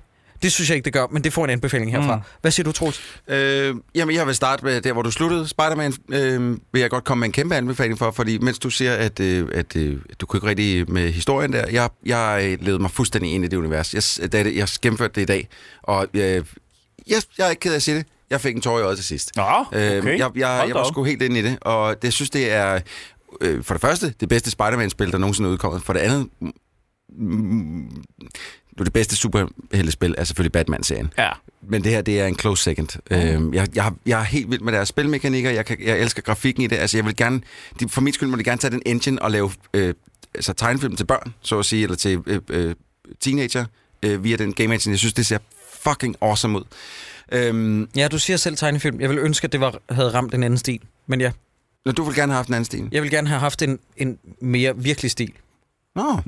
Det synes jeg ikke, det gør, men det får en anbefaling herfra. Mm. Hvad siger du, Troels?
Øh, jamen, jeg vil starte med der, hvor du sluttede. Spider-Man øh, vil jeg godt komme med en kæmpe anbefaling for, fordi mens du siger, at, øh, at øh, du kunne ikke rigtig med historien der, jeg, jeg øh, levede mig fuldstændig ind i det univers. Jeg, s- da det, jeg gennemførte det i dag, og øh, jeg, jeg er ikke ked af at sige det. Jeg fik en tår i øjet til sidst.
Nå, okay.
Øh, jeg, jeg,
Hold
jeg
da
var
op.
sgu helt ind i det, og det, jeg synes, det er øh, for det første det bedste Spider-Man-spil, der nogensinde er udkommet. For det andet, mm, mm, nu det bedste superheltespil er selvfølgelig Batman-serien.
Ja.
Men det her, det er en close second. Øhm, jeg, jeg, jeg er helt vild med deres spilmekanikker. Jeg, kan, jeg elsker grafikken i det. Altså, jeg vil gerne, de, for min skyld må de gerne tage den engine og lave øh, altså, tegnefilm til børn, så at sige, eller til øh, øh, teenager øh, via den game engine. Jeg synes, det ser fucking awesome ud. Øhm,
Ja, du siger selv tegnefilm. Jeg ville ønske, at det var, havde ramt en anden stil. Men ja,
når du vil gerne have haft en anden stil.
jeg ville gerne have haft en, en mere virkelig stil.
Nå,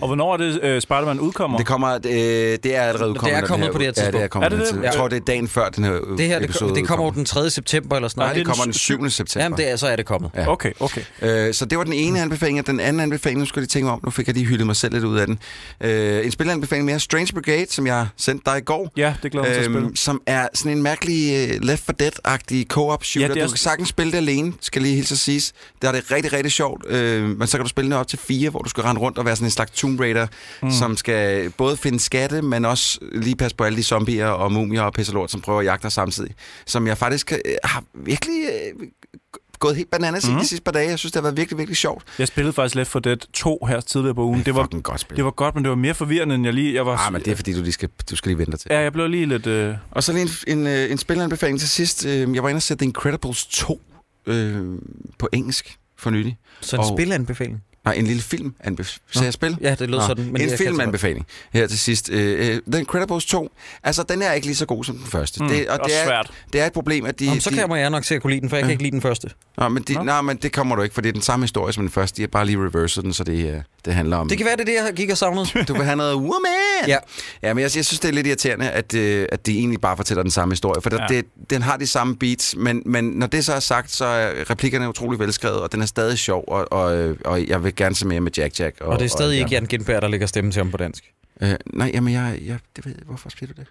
Og hvornår er det, øh, Spider-Man udkommer?
det kommer, øh, det er allerede udkommet.
er
når
kommet
her
på det her
ud- Ja, det er
tidspunkt.
kommet.
Er det
på
det?
tidspunkt. Jeg
Ja.
tror, det er dagen før den her øh,
Det her, det,
episode
det kommer jo
udkommer.
den 3. september eller sådan
Nej,
noget.
det kommer den 7. september.
Jamen, det er, så er det kommet.
Ja.
Okay, okay.
Øh, så det var den ene anbefaling, og den anden anbefaling, nu skal jeg lige tænke mig om, nu fik jeg lige hyldet mig selv lidt ud af den. Øh, en spilleranbefaling mere, Strange Brigade, som jeg sendte dig i går.
Ja, det glæder jeg mig til at spille.
Øhm, som er sådan en mærkelig øh, Left 4 Dead-agtig co-op shooter.
Ja, det
Ja,
er
du
sådan-
kan sagtens spille det alene, skal lige hilse at siges. Der er det rigtig, rigtig sjovt. Øh, men så kan du spille det op til fire, hvor du skal rende rundt og være sådan en slags Tomb Raider, mm. som skal både finde skatte, men også lige passe på alle de zombier og mumier og pisse lort, som prøver at jagte dig samtidig. Som jeg faktisk øh, har virkelig øh, gået helt bananas mm. i de sidste par dage. Jeg synes, det har været virkelig, virkelig sjovt.
Jeg spillede faktisk Left 4 Dead 2 her tidligere på ugen. Det var,
fucking godt spil.
det var godt, men det var mere forvirrende, end jeg lige... Jeg var,
Ah, men det er fordi, du, lige skal, du skal lige vente dig til.
Ja, jeg blev lige lidt... Øh,
Og så lige en, en, øh, en spilleranbefaling til sidst. Øh, Jeg var inde og se The Incredibles 2 øh, på engelsk for nylig.
Så en
Og-
oh. spilanbefaling.
Nej, en lille film. Sagde jeg spil?
Ja, det lød
Nå,
sådan.
en
jeg kan altså godt-
filmanbefaling her til sidst. Øh, øh, The Incredibles 2, altså den er ikke lige så god som den første.
Mm,
det,
også
det, er,
svært.
det er et problem, at de...
Jamen, så
de,
kan jeg nok til at kunne lide den, for jeg kan ikke lide den første.
Nå, men de,
Nå.
nej, men det kommer du ikke, for det er den samme historie som den første. De har bare lige reverset den, så det, øh, det handler om...
Det kan være, det er det, jeg gik og savnede.
Du vil have noget woman!
Ja.
ja men jeg, jeg synes, det er lidt irriterende, at, øh, at de egentlig bare fortæller den samme historie. For der,
Ja.
ja. det, den har de samme beats, men, men når det så er sagt, så er replikkerne utrolig velskrevet, og den er stadig sjov, og, og, øh, og jeg vil gerne se mere med Jack Jack.
Og det er stadig ikke
ja.
Jan Gindberg, der lægger stemme til ham på dansk.
Øh, nej, jamen jeg, jeg, det ved jeg. Hvorfor spiller du det?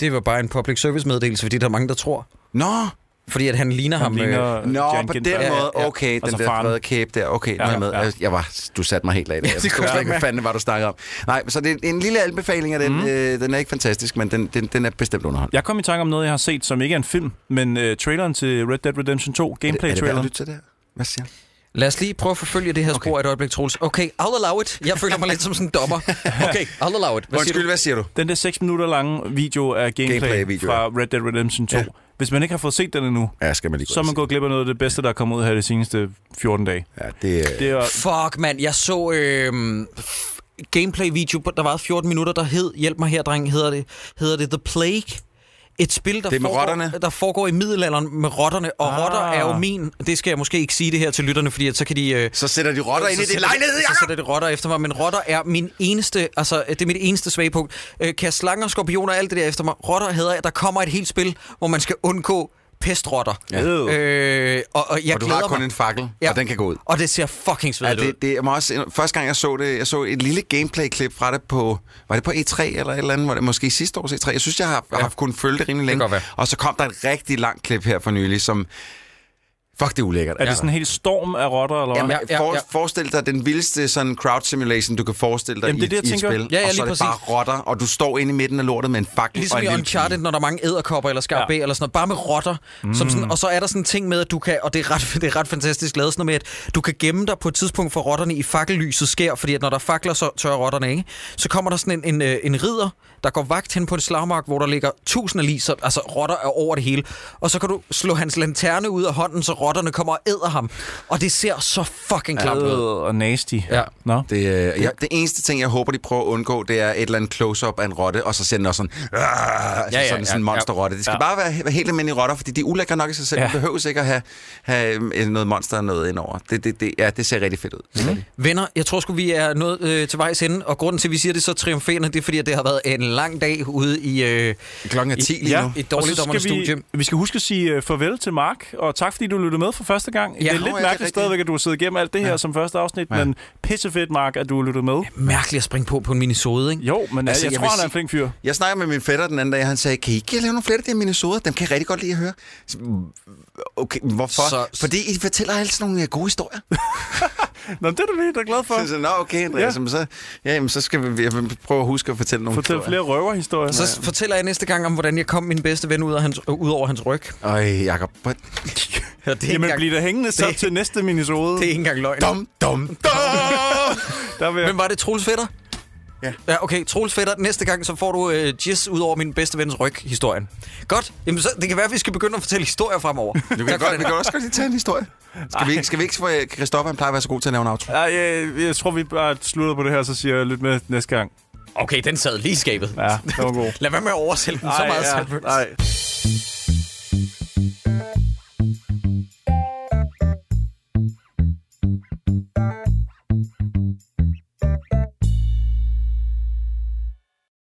Det var bare en public service meddelelse, fordi der er mange, der tror.
Nå,
Fordi at han ligner
han
ham. øh,
ligner
Nå
Jan
på den
Gintberg.
måde,
Ja, ja.
okay, den
Altså
der
faren.
fede kæbe der, okay,
Ja,
ja, med.
ja.
Jeg, jeg var, du satte mig helt af det.
det
Jeg forstod
kunne
slet
jeg
ikke, hvad
mærke.
fanden var du snakkede om. Nej, så det er en lille anbefaling af den,
Mm.
mm. øh, den er ikke fantastisk, men den, den, den er bestemt underholdende.
Jeg kom i tanke om noget, jeg har set, som ikke er en film, men øh, traileren til Red Dead Redemption 2,
er det værd at
gameplay-traileren.
lytte til det her? Hvad siger du?
Lad os lige prøve at forfølge det her spor et øjeblik, Troels. Okay, I'll allow it. Jeg føler mig lidt som sådan en
[laughs]
dommer. Okay, I'll allow it. Hvad siger
Undskyld,
du?
hvad siger du?
Den der 6 minutter lange video af gameplay,
Gameplay-video,
fra Red Dead Redemption 2. Ja.
Ja.
Hvis man ikke har fået set den endnu,
Ja, skal man lige
så er man gået glip af noget af det bedste, der er kommet ud her de seneste 14 dage.
Ja, det,
Det er,
Fuck, mand. Jeg så øh, gameplay-video, på- der var 14 minutter, der hed, hjælp mig her, dreng, hedder det, hedder det The Plague. Et spil, der,
Det er med
foregår,
rotterne.
der foregår i middelalderen med rotterne, og
Ah.
ah. rotter er jo min. Det skal jeg måske ikke sige det her til lytterne, fordi at så kan de... Øh,
så sætter de rotter ind i
så
det
sætter-
lejlighed,
Så
Jacob!
sætter det rotter efter mig, men rotter er min eneste, altså det er mit eneste svage punkt. Øh, kan jeg slanger, skorpioner og alt det der efter mig? Rotter hedder jeg. Der kommer et helt spil, hvor man skal undgå pestrotter.
Ja.
Øh, og, og jeg
Og du
glæder
har kun
mig.
en fakkel,
Ja.
og den kan gå ud.
Og det ser fucking
Ja,
svedigt ud.
det, det, jeg må også, første gang jeg så det, jeg så et lille gameplay-klip fra det på, var det på E3 eller et eller andet, var det måske sidste års E3? Jeg synes, jeg har, ja. har kunnet følge det rimelig længe.
godt være.
og så kom der et rigtig langt klip her for nylig, som, fuck det er ulækkert.
er det sådan en hel storm af rotter, eller hvad?
Jamen,
Ja,
ja,
ja,
for,
ja.
Forestil dig den vildeste sådan crowd simulation, du kan forestille dig
Jamen, det er
i,
det, jeg
i et
tænker.
spil.
Ja, ja,
og så er
lige
det bare rotter, og du står inde i midten af lortet med en fakkel
Ligesom
og en
i
lille
Uncharted, når der er mange æderkopper eller skarpe ja. eller sådan noget, bare med rotter. Mm. Som sådan, og så er der sådan en ting med, at du kan, og det er ret, [laughs] det er ret fantastisk lavet, sådan noget med, at du kan gemme dig på et tidspunkt for rotterne i fakkellyset sker, fordi at når der er fakler, så tør rotterne ikke. Så kommer der sådan en, en, øh, en ridder, der går vagt hen på et slagmark, hvor der ligger tusind af lig, så, altså rotter er over det hele. Og så kan du slå hans lanterne ud af hånden, så rotterne rotterne kommer og æder ham. Og det ser så fucking klamt ud.
Øh, og nasty.
Ja.
Nå.
Det, øh, jeg, det eneste ting, jeg håber, de prøver at undgå, det er et eller andet close-up af en rotte, og så ser den også sådan, ja, altså
ja,
ja, sådan,
ja,
sådan en
ja.
monsterrotte. Det skal ja. bare være, være helt almindelige rotter, fordi de er ulækre nok i sig selv. Ja.
Ja.
De behøver ikke at have, have øh, noget monster og noget indover. Det, det, det, ja, det ser rigtig fedt ud. Mm.
Venner, jeg tror sgu, vi er nået øh, til vejs ende, og grunden til, at vi siger det så triumferende, det er, fordi at det har været en lang dag ude i... Øh,
Klokken er 10 lige
ja.
nu.
Et
Og så
dårligt
skal
dommernes
vi,
studie.
Vi skal huske at sige øh, farvel til Mark, og tak fordi du lyttede med for første gang. det er
nå, ja,
lidt
det er
mærkeligt
rigtigt.
stadigvæk, at du har siddet igennem alt det her som første afsnit,
Ja.
men pissefedt, Mark, at du lyttede med.
Mærkeligt at springe på på en minisode, ikke?
Jo, men
Altså,
altså, jeg,
jeg
tror,
vil
han er
sige-
en flink fyr.
Jeg snakkede med min fætter den anden dag, og han sagde, kan I ikke lave nogle flere af de her minisoder? Dem kan jeg rigtig godt lide at høre. Så, Okay, hvorfor?
Så-
Så... Fordi I fortæller alle sådan nogle øh, gode historier.
Nå, det er du virkelig da glad for.
Så, så, nå, okay, Andreas,
Ja.
ja. så, ja, jamen, så skal vi jeg vil prøve at huske at fortælle nogle
Fortæl flere røverhistorier.
Så s- fortæller jeg næste gang om, hvordan jeg kom min bedste ven ud, af hans, øh, ud over hans ryg.
flere. Øj, Jacob. hvor-
Ja, det, er
Jamen,
engang,
bliver der hængende så
Det-
til næste minisode.
det er ikke engang løgn.
Dum, dum, dum.
Der vil jeg...
Hvem var det? Troels Fætter?
Ja.
Ja, okay. Troels Fætter, næste gang, så får du øh, jizz ud over min bedste vens ryg, historien. Godt. Jamen, så, det kan være, at vi skal begynde at fortælle historier
[laughs]
fremover.
Du
Tak
kan
for
godt,
den.
vi kan også godt lige tage en historie. Skal vi, ikke- skal vi ikke få... Christoffer, han plejer at være så god til at lave en outro.
Ej, øh, jeg, jeg tror, vi bare slutter på det her, så siger jeg lidt med næste gang.
Okay, den sad lige i skabet.
Ja, det var god.
[laughs]
Lad være med at oversælge den så
Ej,
meget.
ja,
Sandberg.
ej.